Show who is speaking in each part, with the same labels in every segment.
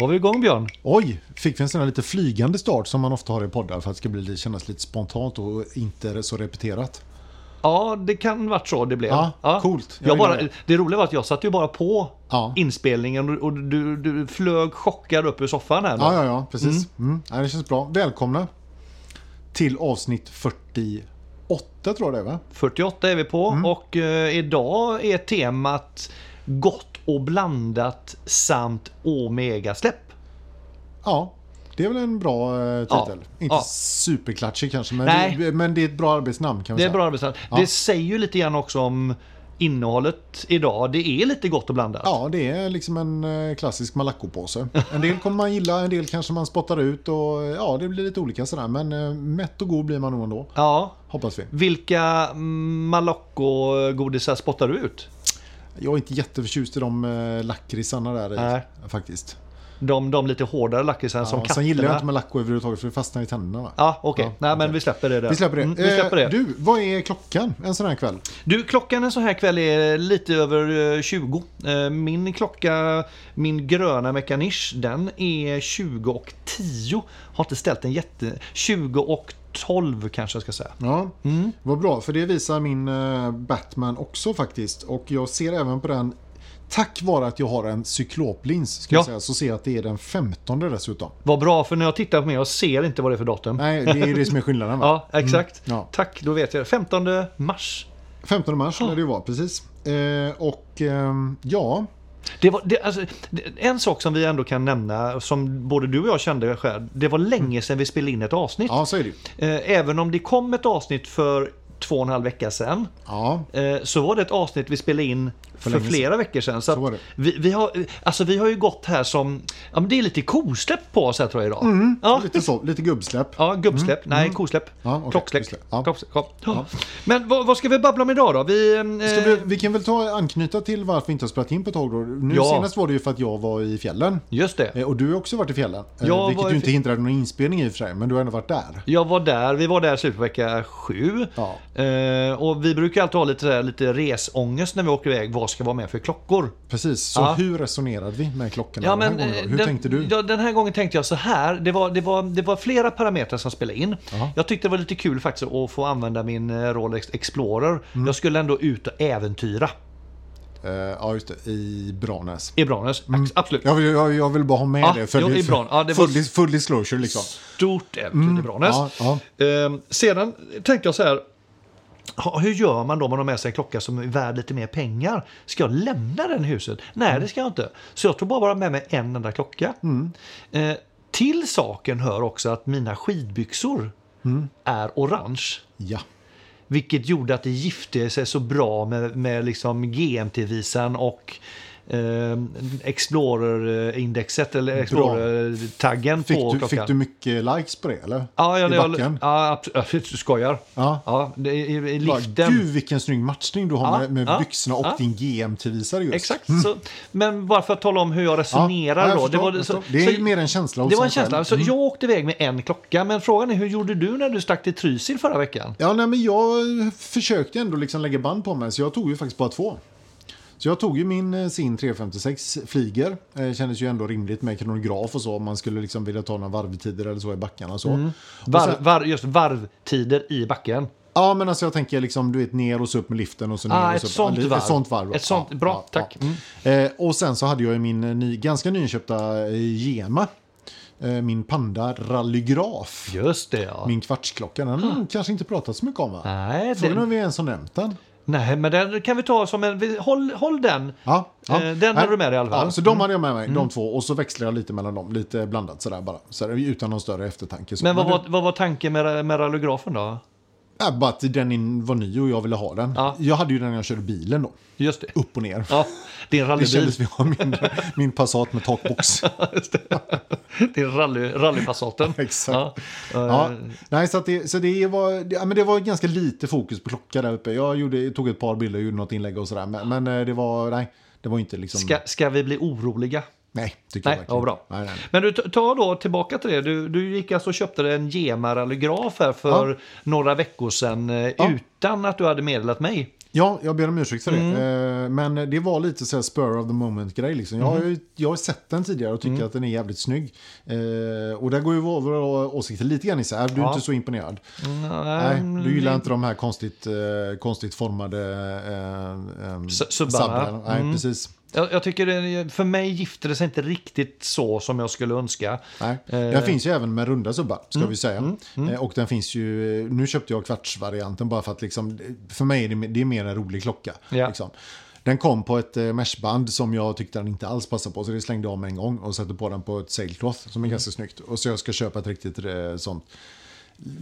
Speaker 1: var vi igång Björn.
Speaker 2: Oj, fick vi en sån här lite flygande start som man ofta har i poddar för att det ska bli, kännas lite spontant och inte så repeterat.
Speaker 1: Ja, det kan varit så det blev.
Speaker 2: Ja, coolt.
Speaker 1: Jag
Speaker 2: Jag
Speaker 1: bara,
Speaker 2: gillar
Speaker 1: det roliga var att jag satt ju bara på
Speaker 2: Ja.
Speaker 1: inspelningen och, och du, du flög chockad upp ur soffan här. nu.
Speaker 2: Ja, ja, ja, precis. Mm. Ja, det känns bra. Välkomna till avsnitt 48 tror jag det är va?
Speaker 1: 48 är vi på
Speaker 2: Mm.
Speaker 1: och eh, idag är temat gott och blandat samt Omega-släpp.
Speaker 2: Ja, det är väl en bra eh,
Speaker 1: Ja.
Speaker 2: titel. Inte
Speaker 1: Ja.
Speaker 2: superklatschig kanske, men
Speaker 1: Nej.
Speaker 2: det, men det är ett bra arbetsnamn kan vi
Speaker 1: Det är
Speaker 2: säga.
Speaker 1: bra arbetsnamn. Det säger ju lite grann också om innehållet idag. Det är lite gott och blandat.
Speaker 2: Ja, det är liksom en eh, klassisk Malaco-påse. En del kommer man gilla, en del kanske man spottar ut och eh, ja, det blir lite olika sådär. Men eh, mätt och god blir man nog ändå,
Speaker 1: Ja.
Speaker 2: hoppas vi.
Speaker 1: Vilka Malocco-godisar spottar du ut?
Speaker 2: Jag är inte jätteförtjust i de eh, lakritsarna där i,
Speaker 1: Nej.
Speaker 2: faktiskt.
Speaker 1: De, de lite hårdare lakritsarna som
Speaker 2: Ja,
Speaker 1: katterna.
Speaker 2: sen gillar jag inte Malaco överhuvudtaget för det fastnar i tänderna. Va?
Speaker 1: Ja, okej.
Speaker 2: Ja,
Speaker 1: Nej, men
Speaker 2: okej.
Speaker 1: vi släpper det där.
Speaker 2: Vi släpper det.
Speaker 1: Mm, vi släpper det.
Speaker 2: Eh,
Speaker 1: Du...
Speaker 2: Du, vad är klockan en sån här kväll?
Speaker 1: klockan en sån här kväll är lite över eh, 20. Eh, Min klocka, min gröna mekanisch, den är 20 och 10. Har inte ställt den jätte... 20 och 12 kanske jag ska säga.
Speaker 2: Ja,
Speaker 1: Mm.
Speaker 2: vad bra. För det visar min eh, Batman också faktiskt. Och jag ser även på den, tack vare att jag har en cykloplins, ska
Speaker 1: Ja.
Speaker 2: jag säga, så ser jag att det är den 15 dessutom.
Speaker 1: Vad bra, för när jag tittar på mig, jag ser inte vad det är för datum.
Speaker 2: Nej, det är det som är skillnaden. Va?
Speaker 1: Ja, exakt.
Speaker 2: Mm, ja.
Speaker 1: Tack, då vet jag. 15 mars.
Speaker 2: 15 mars lär det ju vara, precis. Eh, och ehm, ja,
Speaker 1: Det var, det, alltså, det, en sak som vi ändå kan nämna, som både du och jag kände själv, det var länge sedan vi spelade in ett avsnitt.
Speaker 2: Mm. ja, så är det ju.
Speaker 1: Eh, även om det kom ett avsnitt för två och en halv vecka sedan,
Speaker 2: Ja,
Speaker 1: eh, så var det ett avsnitt vi spelade in för,
Speaker 2: länge sedan.
Speaker 1: flera veckor sedan. Så,
Speaker 2: Så var
Speaker 1: att
Speaker 2: det.
Speaker 1: vi, vi, har, eh, alltså, vi har ju gått här som, ja, men det är lite kosläpp på oss här tror jag idag. ja.
Speaker 2: lite så. Lite gubbsläpp.
Speaker 1: Ja, gubbsläpp. Nej, kosläpp.
Speaker 2: Mm. Ja, okej,
Speaker 1: Klocksläpp.
Speaker 2: gubbsläpp. Ja.
Speaker 1: Klocksläpp. Ja. Men vad, vad ska vi babbla om idag då? Vi, eh,
Speaker 2: Ska vi, vi kan väl ta anknyta till varför vi inte har spelat in på ett tag. Då. Nu
Speaker 1: Ja.
Speaker 2: senast var det ju för att jag var i fjällen.
Speaker 1: Just det.
Speaker 2: Eh, Och du har också varit i fjällen. eh,
Speaker 1: Jag var
Speaker 2: vilket
Speaker 1: i
Speaker 2: ju inte
Speaker 1: fj-
Speaker 2: hindrade någon inspelning i och för sig, men du har ändå varit där.
Speaker 1: Jag var där, vi var där slut på vecka sju.
Speaker 2: Ja.
Speaker 1: Eh, och vi brukar alltid ha lite, sådär- lite resångest när vi åker iväg. Vad ska vara med för klockor?
Speaker 2: Precis, så
Speaker 1: Ja.
Speaker 2: hur resonerade vi med klockorna den här gången?
Speaker 1: eh,
Speaker 2: då? Hur
Speaker 1: den,
Speaker 2: tänkte du?
Speaker 1: Ja, den här gången tänkte jag så här. Det var, det var, det var flera parametrar som spelade in.
Speaker 2: Jaha.
Speaker 1: Jag tyckte det var lite kul faktiskt att få använda min eh, Rolex Explorer.
Speaker 2: Mm.
Speaker 1: Jag skulle ändå ut och äventyra
Speaker 2: Eh, ja, just det, i Branäs.
Speaker 1: i Branäs.
Speaker 2: Mm.
Speaker 1: Ax- Absolut.
Speaker 2: Jag vill, jag, jag vill bara ha med
Speaker 1: Ja,
Speaker 2: det.
Speaker 1: jo, i Bran- ja, det var-
Speaker 2: full, dis- full disclosure liksom.
Speaker 1: Stort äventyr i Branäs.
Speaker 2: Mm. Ja, ja.
Speaker 1: Ehm, sedan tänkte jag så här. ha, Hur gör man då om man har med sig en klocka som är värd lite mer pengar? Ska jag lämna den i huset?
Speaker 2: Mm.
Speaker 1: Nej, det ska jag inte. Så jag tog bara bara med mig en enda klocka. Eh, till saken hör också att mina skidbyxor
Speaker 2: Mm.
Speaker 1: är orange.
Speaker 2: ja.
Speaker 1: Vilket gjorde att det gifte sig så bra med, med liksom GMT-visan och eh, Explorer-indexet eller Explorer-taggen
Speaker 2: Fick,
Speaker 1: på
Speaker 2: du,
Speaker 1: klockan.
Speaker 2: fick du mycket likes på det eller?
Speaker 1: Ja,
Speaker 2: I
Speaker 1: ja, jag,
Speaker 2: backen?
Speaker 1: ja absolut. Du skojar.
Speaker 2: Ja.
Speaker 1: Ja, det, i, i
Speaker 2: Bara,
Speaker 1: liften.
Speaker 2: Gud vilken snygg matchning du har
Speaker 1: Ja,
Speaker 2: med, med
Speaker 1: ja,
Speaker 2: byxorna och
Speaker 1: ja.
Speaker 2: din GMT-visare just.
Speaker 1: Exakt. Så, men bara för att tala om hur jag resonerar
Speaker 2: jag
Speaker 1: då.
Speaker 2: förstår,
Speaker 1: det, var,
Speaker 2: jag
Speaker 1: så,
Speaker 2: förstår. det är
Speaker 1: så,
Speaker 2: ju mer en känsla hos
Speaker 1: det var
Speaker 2: en
Speaker 1: en känsla.
Speaker 2: själv. Mm.
Speaker 1: Så jag åkte iväg med en klocka. Men frågan är hur gjorde du när du stack till Trysil förra veckan?
Speaker 2: Ja, nej, men jag eh, försökte ändå liksom lägga band på mig, så jag tog ju faktiskt bara två. Så jag tog ju min eh, SIN 356 Flyger. Eh, kändes ju ändå rimligt med kronograf och så om man skulle liksom vilja ta några varvtider eller så i backarna och så. Och
Speaker 1: Mm. Varv,
Speaker 2: sen,
Speaker 1: var, just varvtider i backen.
Speaker 2: ja, men alltså jag tänker liksom du vet ner och så upp med liften och så ner
Speaker 1: Ah,
Speaker 2: och
Speaker 1: ett
Speaker 2: så
Speaker 1: sånt
Speaker 2: upp. Ja,
Speaker 1: varv.
Speaker 2: Ett sånt varv.
Speaker 1: Ett sånt- bra, tack.
Speaker 2: Eh, och sen så hade jag ju min eh, ny, ganska nyinköpta eh, Gema. Eh, min Panda Rallygraf.
Speaker 1: Just det ja.
Speaker 2: Min kvartsklocka, den har kanske inte pratat så mycket om va?
Speaker 1: Ah. Nej,
Speaker 2: Frågan är
Speaker 1: den,
Speaker 2: om vi ens har nämnt den.
Speaker 1: nej, men den kan vi ta som en... vi- Håll, håll den.
Speaker 2: Ja, ja.
Speaker 1: Eh, den
Speaker 2: Nej.
Speaker 1: hade du med dig i alla fall. Mm.
Speaker 2: Ja, så de hade jag med mig, de två. Och så växlade jag lite mellan dem, lite blandat sådär bara. Så där, utan någon större eftertanke. Så.
Speaker 1: Men vad
Speaker 2: det-
Speaker 1: var, vad var tanken med, med rallygrafen då?
Speaker 2: Ja, bara att den in- var ny och jag ville ha den.
Speaker 1: Ja.
Speaker 2: Jag hade ju den när jag körde bilen då,
Speaker 1: Just det.
Speaker 2: upp och ner.
Speaker 1: Ja, din
Speaker 2: Det
Speaker 1: rallybil.
Speaker 2: kändes vi har min, min Passat med takbox.
Speaker 1: Just det. Det är rally, rallypassaten.
Speaker 2: Exakt.
Speaker 1: Ja. Eh,
Speaker 2: Ja. Nej, så, att det, så det, var, det, ja, men det var ganska lite fokus på klocka där uppe. Jag gjorde, tog ett par bilder och gjorde något inlägg och sådär. Men, men eh, det var, nej, det var inte liksom...
Speaker 1: Ska, ska vi bli oroliga?
Speaker 2: Nej, tycker jag
Speaker 1: Nej,
Speaker 2: verkligen
Speaker 1: ja, bra.
Speaker 2: inte. Nej, nej, nej.
Speaker 1: Men du, ta- ta då tillbaka till det. Du, du gick alltså och köpte en Gemar-allograf här för några veckor sedan eh,
Speaker 2: Ja.
Speaker 1: utan att du hade meddelat mig.
Speaker 2: Ja, jag ber om ursäkt för det.
Speaker 1: Mm.
Speaker 2: Eh, Men det var lite så här spur of the moment-grej. Liksom. Jag, har ju, jag har sett den tidigare och tycker
Speaker 1: Mm.
Speaker 2: att den är jävligt snygg. Eh, och där går ju våra våra åsikter lite grann isär. Du är
Speaker 1: Ja. Mm.
Speaker 2: inte så imponerad.
Speaker 1: Nej,
Speaker 2: Nej, du gillar inte de här konstigt, eh, konstigt formade eh, eh,
Speaker 1: S- subbarna.
Speaker 2: subbarna. Nej,
Speaker 1: Mm.
Speaker 2: precis.
Speaker 1: Jag, jag tycker det, för mig gifte det sig inte riktigt så som jag skulle önska.
Speaker 2: Nej.
Speaker 1: Eh. Mm,
Speaker 2: Den finns ju även med runda subbar, ska vi säga. Eh, Och den finns ju, eh, nu köpte jag kvartsvarianten bara för att liksom, för mig är det, det är mer en rolig klocka.
Speaker 1: Ja.
Speaker 2: Liksom. Den kom på ett eh, meshband som jag tyckte den inte alls passade på, så det slängde jag av med en gång och satte på den på ett sailcloth som är
Speaker 1: Mm.
Speaker 2: ganska snyggt. Och så jag ska köpa ett riktigt eh, sånt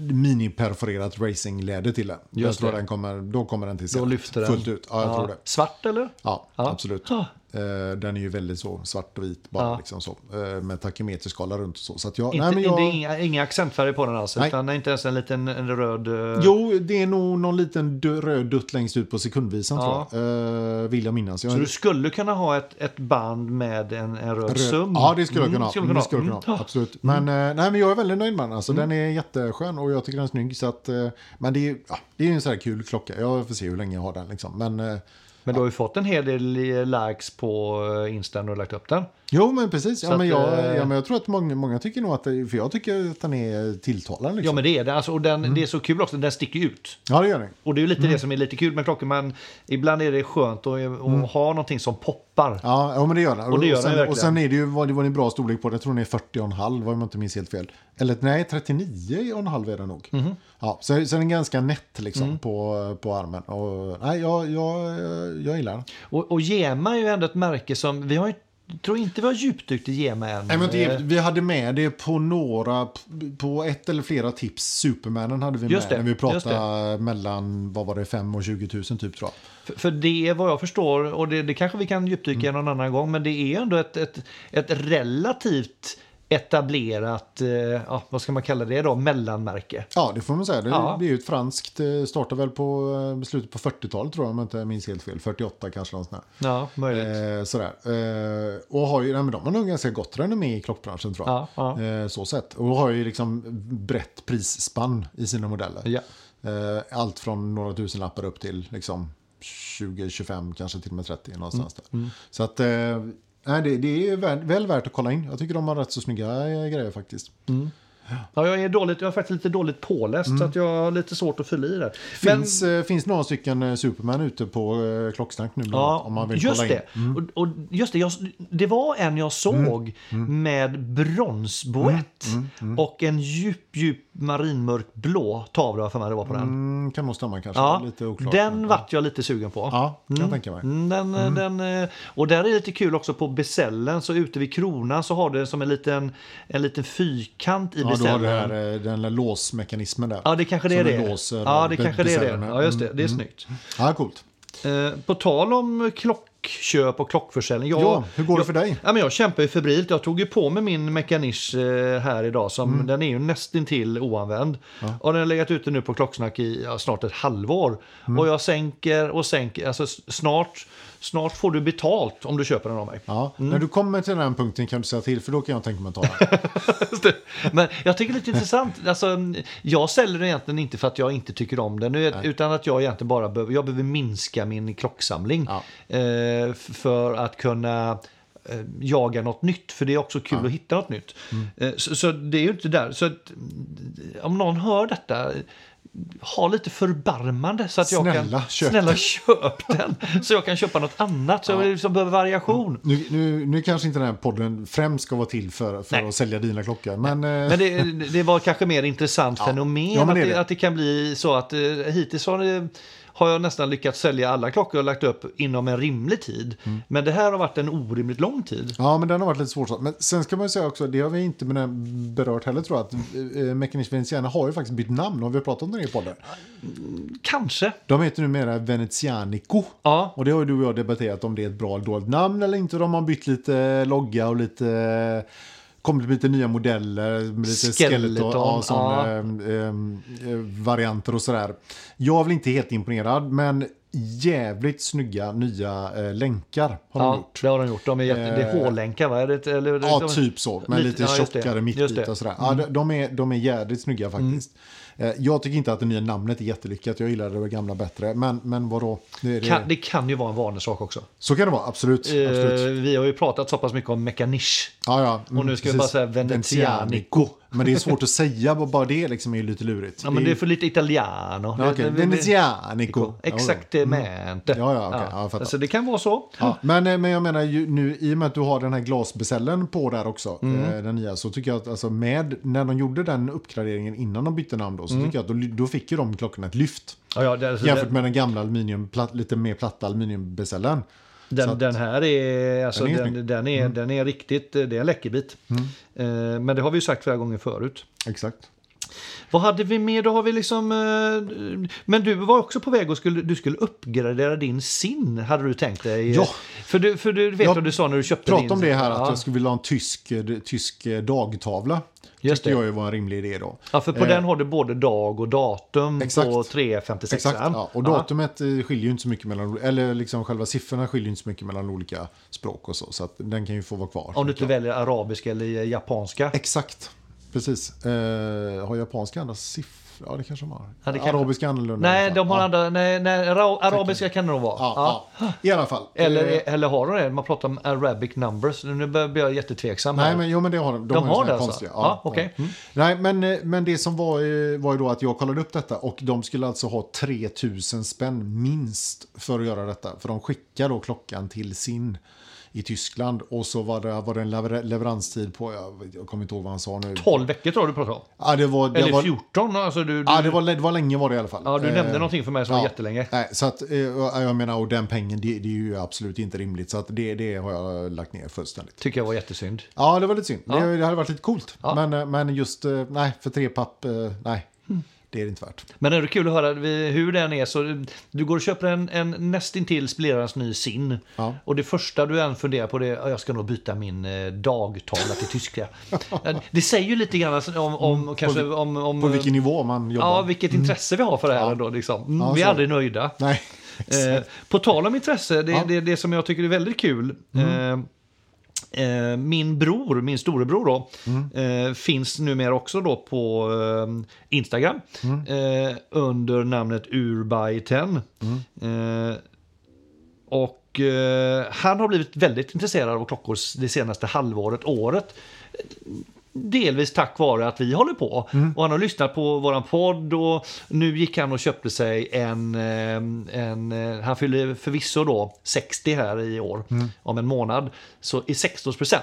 Speaker 2: mini-perforerat racingläder till den. Jag
Speaker 1: Just
Speaker 2: tror
Speaker 1: det.
Speaker 2: den kommer, då kommer den till
Speaker 1: Då
Speaker 2: scenen.
Speaker 1: lyfter den.
Speaker 2: Fullt ut, ja jag
Speaker 1: Ja.
Speaker 2: tror det.
Speaker 1: Svart eller?
Speaker 2: Ja,
Speaker 1: Ja.
Speaker 2: absolut.
Speaker 1: Ah.
Speaker 2: Eh, den är ju väldigt så svart och vit bara
Speaker 1: Ja.
Speaker 2: liksom så. Eh, med takimeterskala runt och så. så att jag,
Speaker 1: Inte,
Speaker 2: nej, men jag,
Speaker 1: det är inga, inga accentfärger på den alls,
Speaker 2: Nej.
Speaker 1: utan inte ens en liten en röd... eh,
Speaker 2: Jo, det är nog någon liten dö- röd dutt längst ut på sekundvisan
Speaker 1: Ja.
Speaker 2: tror jag. Eh, vill jag minnas. Jag
Speaker 1: Så du skulle kunna ha ett, ett band med en, en röd,
Speaker 2: Röd-
Speaker 1: sum?
Speaker 2: Ja, det skulle jag kunna
Speaker 1: Mm,
Speaker 2: ha. det skulle jag
Speaker 1: Mm.
Speaker 2: kunna ha. Absolut. Men, eh, nej, men jag är väldigt nöjd med den. Alltså, Den är jätteskön och jag tycker den är snygg. Så att, eh, men det är, ju- ja, det är ju en sån här kul klocka. Jag får se hur länge jag har den. Liksom. Men, eh,
Speaker 1: Men du har ju fått en hel del likes på eh, Insta när du lagt upp den.
Speaker 2: jo, men precis.
Speaker 1: Så
Speaker 2: Ja,
Speaker 1: att,
Speaker 2: men jag,
Speaker 1: eh,
Speaker 2: ja, men jag tror att många, många tycker nog att... det- För jag tycker att den är tilltalande. Liksom.
Speaker 1: Ja, men det är det. Alltså, och
Speaker 2: Mm.
Speaker 1: den, det är så kul också, den sticker ut.
Speaker 2: Ja, det gör den.
Speaker 1: Och det är ju lite det som är lite kul med klockor, men ibland är det skönt att, eh, att ha någonting som poppar.
Speaker 2: Mm. Ja, ja, men det gör den.
Speaker 1: Och det gör
Speaker 2: sen,
Speaker 1: den verkligen.
Speaker 2: och sen är det ju, var det var en bra storlek på den. Jag tror den är 40,5 om jag inte minns helt fel. Eller nej, 39,5 är den nog.
Speaker 1: Mhm.
Speaker 2: Ja, så, så den är ganska nätt liksom
Speaker 1: Mm.
Speaker 2: på, på armen. Och, nej, jag, jag, jag gillar den.
Speaker 1: Och, och Gema är ju ändå ett märke som, vi har ju, tror inte vi har djupdykt i Gema än.
Speaker 2: Nej, men det,
Speaker 1: Eh,
Speaker 2: vi hade med det på några, på ett eller flera tips. Supermanen hade vi
Speaker 1: Just det,
Speaker 2: med när vi
Speaker 1: just
Speaker 2: pratade mellan, vad var det, 5 och 20 000 typ tror jag.
Speaker 1: För, för det är vad jag förstår, och det, det kanske vi kan djupdyka
Speaker 2: Mm.
Speaker 1: i någon annan gång, men det är ändå ett, ett, ett relativt etablerat, eh, ja, vad ska man kalla det då, mellanmärke.
Speaker 2: Ja, det får man säga. Det,
Speaker 1: Ja.
Speaker 2: det är ju ett franskt, eh, startade väl på eh, slutet på 40-talet tror jag om jag inte minns helt fel. 48 kanske någon sån här.
Speaker 1: Ja, möjligt.
Speaker 2: Eh, sådär. Eh, och har ju, nej, men de har nog ganska gott renommé i klockbranschen tror jag.
Speaker 1: Ja, ja.
Speaker 2: Eh, så sett. Och har ju liksom brett prisspann i sina modeller.
Speaker 1: Ja.
Speaker 2: Eh, allt från några tusen lappar upp till liksom 20, 25, kanske till och med 30 någonstans
Speaker 1: Mm,
Speaker 2: där. Så att, eh, nej, det, det är väl, väl värt att kolla in. Jag tycker de har rätt så snygga eh, grejer faktiskt.
Speaker 1: Ja, jag, är dåligt, jag är faktiskt lite dåligt påläst, så att jag har lite svårt att fylla i det. Men-
Speaker 2: Mm. Finns, eh, finns några stycken eh, Superman ute på eh, Klocksnack nu bland
Speaker 1: Ja,
Speaker 2: annat, om man vill
Speaker 1: just
Speaker 2: kolla in. Mm.
Speaker 1: det. Och, och just det, jag, det var en jag såg
Speaker 2: Mm.
Speaker 1: med bronsboett och en djup, djup marinmörkblå tavla har jag för mig det var på den.
Speaker 2: Mm, kan nog stämma kanske.
Speaker 1: Ja,
Speaker 2: Lite oklart.
Speaker 1: den
Speaker 2: men-
Speaker 1: vart jag lite sugen på.
Speaker 2: Ja, kan jag tänka mig.
Speaker 1: Mm, Den, den, eh, och där är det lite kul också på besällen, så ute vid kronan så har du som en liten, en liten fyrkant i
Speaker 2: Ja, du har
Speaker 1: besällen.
Speaker 2: det här, eh, den där låsmekanismen där.
Speaker 1: Ja, det kanske det är
Speaker 2: Som
Speaker 1: det.
Speaker 2: låser
Speaker 1: ja, det
Speaker 2: be-
Speaker 1: kanske det är det.
Speaker 2: besellerna.
Speaker 1: Ja, just det. Det är
Speaker 2: Mm.
Speaker 1: snyggt.
Speaker 2: Ja, coolt.
Speaker 1: Eh, på tal om klockköp och klockförsäljning. Jag,
Speaker 2: Ja, hur går det
Speaker 1: jag,
Speaker 2: för dig?
Speaker 1: Ja, men jag kämpar ju febrilt. Jag tog ju på mig min mekanisch eh, här idag. Som,
Speaker 2: Mm.
Speaker 1: Den är ju nästintill oanvänd. Och den har legat ute nu på klocksnack i ja, snart ett halvår.
Speaker 2: Mm.
Speaker 1: Och jag sänker och sänker. Alltså, s- snart, snart får du betalt om du köper den av mig.
Speaker 2: Ja, När du kommer till den här punkten kan du säga till, för då kan jag tänka mig att ta den.
Speaker 1: Just det. Men jag tycker det är lite intressant. Alltså, jag säljer den egentligen inte för att jag inte tycker om den. nu, Utan att jag egentligen bara behöver, jag behöver minska min klocksamling. Eh, f- för att kunna eh, jaga något nytt. För det är också kul att hitta något nytt.
Speaker 2: Mm.
Speaker 1: Eh, så, så det är ju inte där. Så att, mm, om någon hör detta. Ha lite förbarmande så att jag
Speaker 2: Snälla,
Speaker 1: kan...
Speaker 2: köp
Speaker 1: snälla köp den! Så jag kan köpa något annat. Så jag liksom behöver variation.
Speaker 2: Nu, nu, nu kanske inte den här podden främst ska vara till för, för
Speaker 1: Nej.
Speaker 2: att sälja dina klockor, men... eh,
Speaker 1: Men det, det var kanske mer intressant fenomen.
Speaker 2: Ja, men det är
Speaker 1: att, det,
Speaker 2: det.
Speaker 1: att det kan bli så att eh, hittills har, det, har jag nästan lyckats sälja alla klockor jag lagt upp inom en rimlig tid.
Speaker 2: Mm.
Speaker 1: Men det här har varit en orimligt lång tid.
Speaker 2: Ja, men den har varit lite svårsåld. Men sen ska man ju säga också, det har vi inte med den berört heller tror jag, att eh, Mekanisch Veneziana har ju faktiskt bytt namn, har vi pratat om det i podden?
Speaker 1: Kanske.
Speaker 2: De heter numera Venezianico.
Speaker 1: Ja.
Speaker 2: Och det har ju du och jag debatterat om det är ett bra eller dåligt namn eller inte. De har bytt lite logga och lite... Kommit med lite nya modeller, med lite
Speaker 1: Skeleton,
Speaker 2: skeleton och ehm, sådana eh, eh, varianter och sådär. Jag är väl inte helt imponerad, men jävligt snygga nya eh, länkar. Har de
Speaker 1: Ja,
Speaker 2: gjort.
Speaker 1: det har de gjort. De är jätte, det är
Speaker 2: Eh,
Speaker 1: H-länkar va? Är det, eller,
Speaker 2: Ja,
Speaker 1: de,
Speaker 2: typ så. Men
Speaker 1: lite-
Speaker 2: lite,
Speaker 1: ja, just det.
Speaker 2: tjockare
Speaker 1: Just det. Mm.
Speaker 2: mittbit och sådär. Ja, de- de, är, de är jädrigt snygga faktiskt. Eh, Jag tycker inte att det nya namnet är jättelyckat. Jag gillade det gamla bättre. Men, men vadå? Det är det.
Speaker 1: Kan, det kan ju vara en vanesak också.
Speaker 2: Så kan det vara, absolut.
Speaker 1: Eh,
Speaker 2: absolut.
Speaker 1: vi har ju pratat så pass mycket om mekanisch.
Speaker 2: Ja, ja. Mm,
Speaker 1: Och nu ska vi
Speaker 2: precis.
Speaker 1: bara säga venezianico.
Speaker 2: Men det är svårt att säga, bara- bara det liksom är ju lite lurigt.
Speaker 1: Ja, men det är för lite italiano.
Speaker 2: Ja, okej.
Speaker 1: Det- det- det-
Speaker 2: Venezianico.
Speaker 1: Exakt
Speaker 2: Ja,
Speaker 1: det
Speaker 2: ja. Mm.
Speaker 1: mente.
Speaker 2: Ja, ja, okej. Ja, jag fattar.
Speaker 1: alltså, det kan vara så.
Speaker 2: Ja, men, eh, men jag menar ju nu i och med att du har den här glasbesällen på där också,
Speaker 1: Mm.
Speaker 2: eh, den nya, så tycker jag att alltså med, när de gjorde den uppgraderingen innan de bytte namn då, så tycker jag att då, ly- då fick ju de klockorna ett lyft.
Speaker 1: Ja, ja, det, Mm. alltså,
Speaker 2: Jämfört
Speaker 1: den,
Speaker 2: med den gamla aluminium, platt, lite mer platta aluminiumbesällen. så
Speaker 1: den,
Speaker 2: att-
Speaker 1: den här är, alltså,
Speaker 2: Den är
Speaker 1: den,
Speaker 2: snygg. Mm.
Speaker 1: den, är, den är riktigt, eh, det är en läckerbit. Eh, men det har vi ju sagt flera gånger förut.
Speaker 2: Exakt.
Speaker 1: Vad hade vi mer? Då har vi liksom... Eh, men du var också på väg och skulle, du skulle uppgradera din sin, hade du tänkt dig.
Speaker 2: Ja.
Speaker 1: För du, för du vet
Speaker 2: Jag
Speaker 1: vad du sa när du köpte din...
Speaker 2: Prata om det här att
Speaker 1: ja.
Speaker 2: jag skulle vilja ha en tysk, eh, tysk eh, dagtavla.
Speaker 1: Just
Speaker 2: tyckte
Speaker 1: det.
Speaker 2: jag ju var en rimlig idé då.
Speaker 1: Ja, för på
Speaker 2: Eh,
Speaker 1: den har du både dag och datum
Speaker 2: Exakt.
Speaker 1: på 356.
Speaker 2: Exakt, ja. och datumet eh, skiljer ju inte så mycket mellan, eller liksom själva siffrorna skiljer ju inte så mycket mellan olika språk och så, så att den kan ju få vara kvar.
Speaker 1: Om du inte väljer arabiska eller japanska.
Speaker 2: Exakt, precis. Eh, har japanska andra siffror? Ja, det kanske de har.
Speaker 1: Ja, det kanske-
Speaker 2: Arabiska annorlunda. i alla
Speaker 1: Nej,
Speaker 2: fall.
Speaker 1: de har
Speaker 2: ja.
Speaker 1: andra, nej, nej, ara- arabiska kan det nog vara.
Speaker 2: Ja, ja. I alla fall.
Speaker 1: Ja. Eller,
Speaker 2: Eh,
Speaker 1: eller har de det? Man pratar om arabic numbers. Nu börjar jag bli jättetveksam. här.
Speaker 2: Nej, men, jo, men det har de. De,
Speaker 1: De
Speaker 2: ju
Speaker 1: har
Speaker 2: såna här
Speaker 1: det alltså?
Speaker 2: konstiga.
Speaker 1: Ja, okej.
Speaker 2: Mm. Nej, men, eh, men det som var, eh, var ju då att jag kollade upp detta och de skulle alltså ha 3000 spänn minst för att göra detta. För de skickar då klockan till sin i Tyskland och så var det, var det en lever- leveranstid på, jag, vet- jag kommer inte ihåg vad han sa nu.
Speaker 1: 12 veckor tror jag du pratar om.
Speaker 2: Ja, det var, det
Speaker 1: Eller
Speaker 2: var,
Speaker 1: 14. Alltså du, du,
Speaker 2: ja, det var, det var länge var det i alla fall.
Speaker 1: ja, du
Speaker 2: Eh,
Speaker 1: nämnde någonting för mig som
Speaker 2: ja.
Speaker 1: var jättelänge.
Speaker 2: Nej, så att, eh, jag menar, och den pengen, det, det är ju absolut inte rimligt. Så att det, det har jag lagt ner fullständigt.
Speaker 1: Tycker jag var jättesynd.
Speaker 2: Ja, det var lite synd.
Speaker 1: Ja.
Speaker 2: Det, det hade varit lite coolt.
Speaker 1: Ja.
Speaker 2: Men, eh, men just, eh, nej, för tre papp, eh, nej. Det är det inte värt.
Speaker 1: Men ändå kul att höra vi- hur den är. Så du- du går och köper en, en nästintill splirrans ny sin.
Speaker 2: Ja.
Speaker 1: Och det första du än funderar på det är "Ja, jag ska nog byta min eh, dagtavla till tyska. Ja, det säger ju lite grann alltså om, om, kanske,
Speaker 2: vil-
Speaker 1: om, om
Speaker 2: Mm. På vilken nivå man jobbar.
Speaker 1: Ja, vilket intresse vi har för det här ändå. Liksom. Mm,
Speaker 2: Ja,
Speaker 1: vi är
Speaker 2: så.
Speaker 1: aldrig nöjda.
Speaker 2: Nej,
Speaker 1: Eh, på tal om intresse, det är
Speaker 2: Ja.
Speaker 1: det, det som jag tycker är väldigt kul. Eh, eh, min bror, min storebror då, eh, finns numera också då på eh, Instagram eh, under namnet Urbyten. Eh, och eh, han har blivit väldigt intresserad av klockor s- det senaste halvåret, året. Delvis tack vare att vi håller på. Och han har lyssnat på våran podd och nu gick han och köpte sig en... eh, en eh, han fyller förvisso då 60 här i år, om en månad. Så i 16%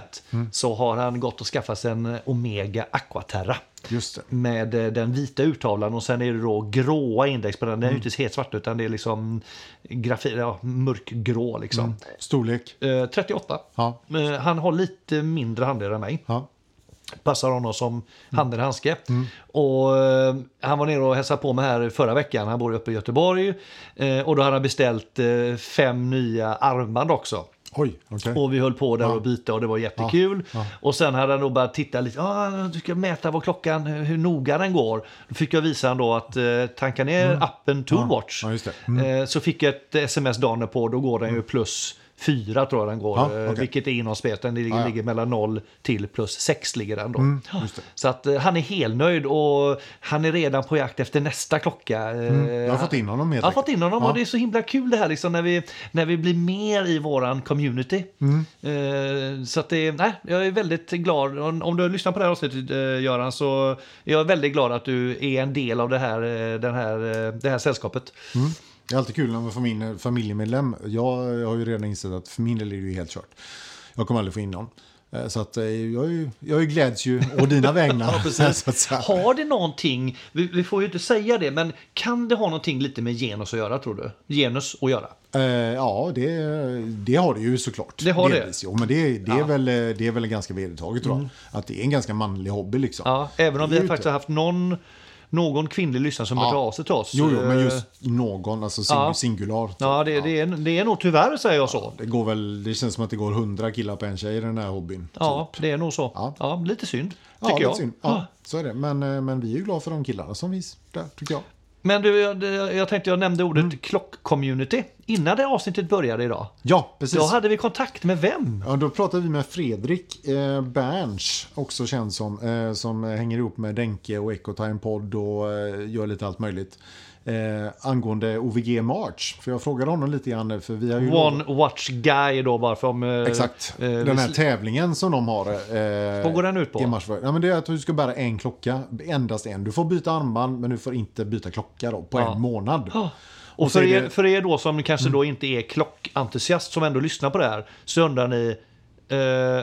Speaker 1: så har han gått och skaffat sig en Omega Aquaterra.
Speaker 2: just det.
Speaker 1: Med eh, den vita urtavlan och sen är det då gråa index på den. Den är ju inte helt svart utan det är liksom grafi, ja, mörkgrå liksom.
Speaker 2: Storlek.
Speaker 1: Eh, 38.
Speaker 2: Ja.
Speaker 1: Eh, han har lite mindre handled än mig
Speaker 2: ja.
Speaker 1: passar honom som handen i handske. Och, eh, han var nere och hälsade på mig här förra veckan, han bor ju uppe i Göteborg. Eh, och då hade han beställt eh, fem nya armband också.
Speaker 2: Oj, okej.
Speaker 1: Och vi höll på där och byta och det var jättekul. Och sen hade han nog bara tittat lite. Ah, du ska mäta vad klockan, hur hur noga den går. Då fick jag visa honom då att eh, tanka ner appen ToWatch.
Speaker 2: Mm. Ja, just det. Mm.
Speaker 1: Eh, så fick jag ett sms dagen på, då går den ju plus 4 tror jag den går.
Speaker 2: Ja,
Speaker 1: eh,
Speaker 2: okej.
Speaker 1: Vilket är inom speten, det ligger,
Speaker 2: Ja, ja.
Speaker 1: ligger mellan 0 till plus 6 ligger den då.
Speaker 2: just det.
Speaker 1: Så att eh, han är helnöjd och han är redan på jakt efter nästa klocka. Eh,
Speaker 2: Mm. Jag har fått in honom helt
Speaker 1: jag har
Speaker 2: enkelt.
Speaker 1: fått in honom
Speaker 2: Ja.
Speaker 1: och det är så himla kul det här liksom när vi, när vi blir mer i våran community.
Speaker 2: Mm.
Speaker 1: Eh, så att det, nej, jag är väldigt glad. Om, om du har lyssnat på det här avsnittet eh, Göran så är jag väldigt glad att du är en del av det här, eh, den här, eh, det här sällskapet.
Speaker 2: Det är alltid kul när man får min eh, familjemedlem. Jag, har ju redan insett att för min del är det ju helt kört. Jag kommer aldrig få in någon. Eh, Så att eh, jag, är ju- jag gläds ju å dina vägnar. ja,
Speaker 1: precis.
Speaker 2: så att säga.
Speaker 1: Har det någonting, vi, vi får ju inte säga det, men kan det ha någonting lite med genus att göra tror du? Genus att göra?
Speaker 2: Eh, ja, det, det har det ju såklart.
Speaker 1: Det har det.
Speaker 2: Delvis, Jo, men det, det, är väl, det är väl ganska vedertaget tror jag. Att det är en ganska manlig hobby liksom.
Speaker 1: Ja, även om vi
Speaker 2: Det är
Speaker 1: har
Speaker 2: ju
Speaker 1: faktiskt
Speaker 2: inte-
Speaker 1: haft någon, någon kvinnlig lyssnare som har
Speaker 2: Ja.
Speaker 1: hört av sig till oss.
Speaker 2: Jo, jo, men
Speaker 1: Eh,
Speaker 2: just någon, alltså sing,
Speaker 1: ja.
Speaker 2: singular. typ.
Speaker 1: Ja, det, det, är, det är nog tyvärr säger jag så.
Speaker 2: Det, går väl, det känns som att det går hundra killar på en tjej i den här hobbyn.
Speaker 1: Ja, det är nog så. Ja.
Speaker 2: Typ. Ja.
Speaker 1: lite synd, tycker
Speaker 2: Ja, det är
Speaker 1: jag. Mm.
Speaker 2: synd. Ja, så är det. Men, eh, men vi är ju glada för de killarna som finns där, tycker jag.
Speaker 1: Men du, jag, jag tänkte jag nämnde ordet
Speaker 2: Mm.
Speaker 1: klock-community innan det avsnittet började idag.
Speaker 2: Ja, precis.
Speaker 1: Då hade vi kontakt med vem?
Speaker 2: Ja, då pratade vi med Fredrik eh, Berns, också känd som, eh, som hänger ihop med Denke och Ecotime Podd och eh, gör lite allt möjligt. Eh, angående OVG March. För jag frågade honom lite grann, för vi har ju...
Speaker 1: One Watch Guy då bara för om... eh,
Speaker 2: Exakt.
Speaker 1: eh,
Speaker 2: den här tävlingen som de har. Eh,
Speaker 1: Vad går den ut på?
Speaker 2: i mars. Ja, men det är att du ska bära en klocka, endast en. Du får byta armband men du får inte byta klocka då, på
Speaker 1: Ja.
Speaker 2: en månad.
Speaker 1: Ja.
Speaker 2: Och
Speaker 1: Ah. Och
Speaker 2: så
Speaker 1: för
Speaker 2: är
Speaker 1: er,
Speaker 2: det- Mm.
Speaker 1: för er då som kanske då inte är klockentusiast som ändå lyssnar på det här så undrar ni eh,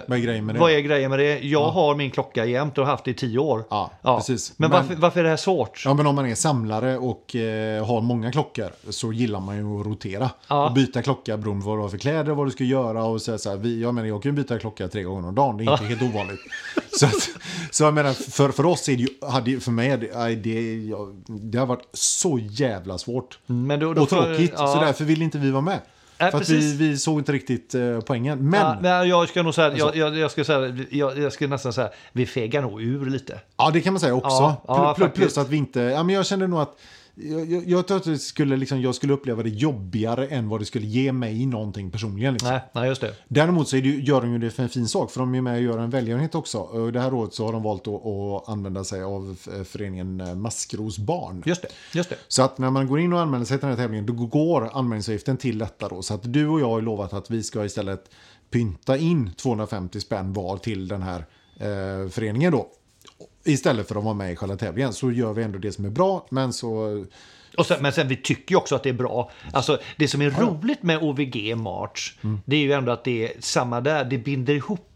Speaker 2: Vad är grejen med det?
Speaker 1: vad är grejen med det? Jag har min klocka jämt och har haft det i tio år.
Speaker 2: Ja, precis.
Speaker 1: Men,
Speaker 2: Men-
Speaker 1: Varför, varför är det här svårt?
Speaker 2: Ja, men om man är samlare och eh, har många klockor så gillar man ju att rotera.
Speaker 1: Ja.
Speaker 2: Och byta klocka beroende på vad du har för kläder, vad du ska göra och så, så här, vi, jag menar, jag kan ju byta klocka tre gånger om dagen, det är inte helt ovanligt. Så, att, så jag menar, för, för oss är det ju, hade, ju- för mig, är det, nej, det, jag, det har varit så jävla svårt.
Speaker 1: Men då- då
Speaker 2: och
Speaker 1: får-
Speaker 2: tråkigt,
Speaker 1: Mm. ja.
Speaker 2: så därför vill inte vi vara med.
Speaker 1: Nej,
Speaker 2: för att vi,
Speaker 1: precis.
Speaker 2: vi såg inte riktigt eh, poängen. Men, Alltså-
Speaker 1: Ja,
Speaker 2: ja,
Speaker 1: nej, jag ska nog säga, jag, jag, jag ska säga, jag, jag ska nästan säga, vi fegar nog ur lite.
Speaker 2: det kan man säga också.
Speaker 1: Ja, ja,
Speaker 2: Plu- plu- plus
Speaker 1: faktiskt.
Speaker 2: att vi inte, ja, men jag kände nog att jag, jag, jag tror att det skulle, liksom, jag skulle uppleva det jobbigare än vad det skulle ge mig någonting personligen. Liksom.
Speaker 1: Nej, nej just det.
Speaker 2: Däremot så är det, ju- gör de ju det för en fin sak, för de är med och gör en välgörenhet också. Och det här året så har de valt att, att använda sig av eh, föreningen eh, Maskros barn.
Speaker 1: Just det, just det.
Speaker 2: Så att när man går in och anmäler sig till den här tävlingen då går anmälningsavgiften till detta då. Så att du och jag har ju lovat att vi ska istället pynta in 250 spänn var till den här eh, föreningen då. Istället för att vara med i själva tävlingen så gör vi ändå det som är bra men så...
Speaker 1: Och sen, men sen vi tycker ju också att det är bra. Alltså, det som är roligt med OVG March,
Speaker 2: Mm.
Speaker 1: det är ju ändå att det är samma där, det binder ihop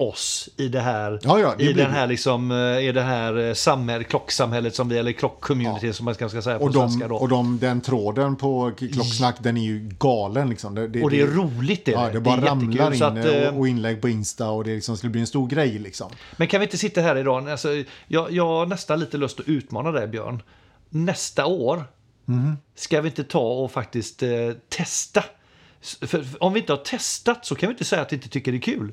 Speaker 1: oss i det här,
Speaker 2: Ja, ja, det
Speaker 1: i
Speaker 2: blir
Speaker 1: den här, liksom, eh, i det här eh, samhäll, klocksamhället som vi, eller klockcommunity som man kanske ska säga på
Speaker 2: Och,
Speaker 1: svenska
Speaker 2: de,
Speaker 1: då.
Speaker 2: och de, den tråden på k- klocksnack den är ju galen liksom. Det,
Speaker 1: Och det är roligt det.
Speaker 2: Ja, det bara
Speaker 1: är jättekul,
Speaker 2: ramlar in
Speaker 1: så att, eh,
Speaker 2: och- och inlägg på Insta och det liksom skulle bli en stor grej liksom.
Speaker 1: Men kan vi inte sitta här idag? Alltså, jag, jag har nästan lite lust att utmana dig Björn. Nästa år
Speaker 2: Mhm.
Speaker 1: ska vi inte ta och faktiskt eh, testa. S- För, för om vi inte har testat så kan vi inte säga att vi inte tycker det är kul.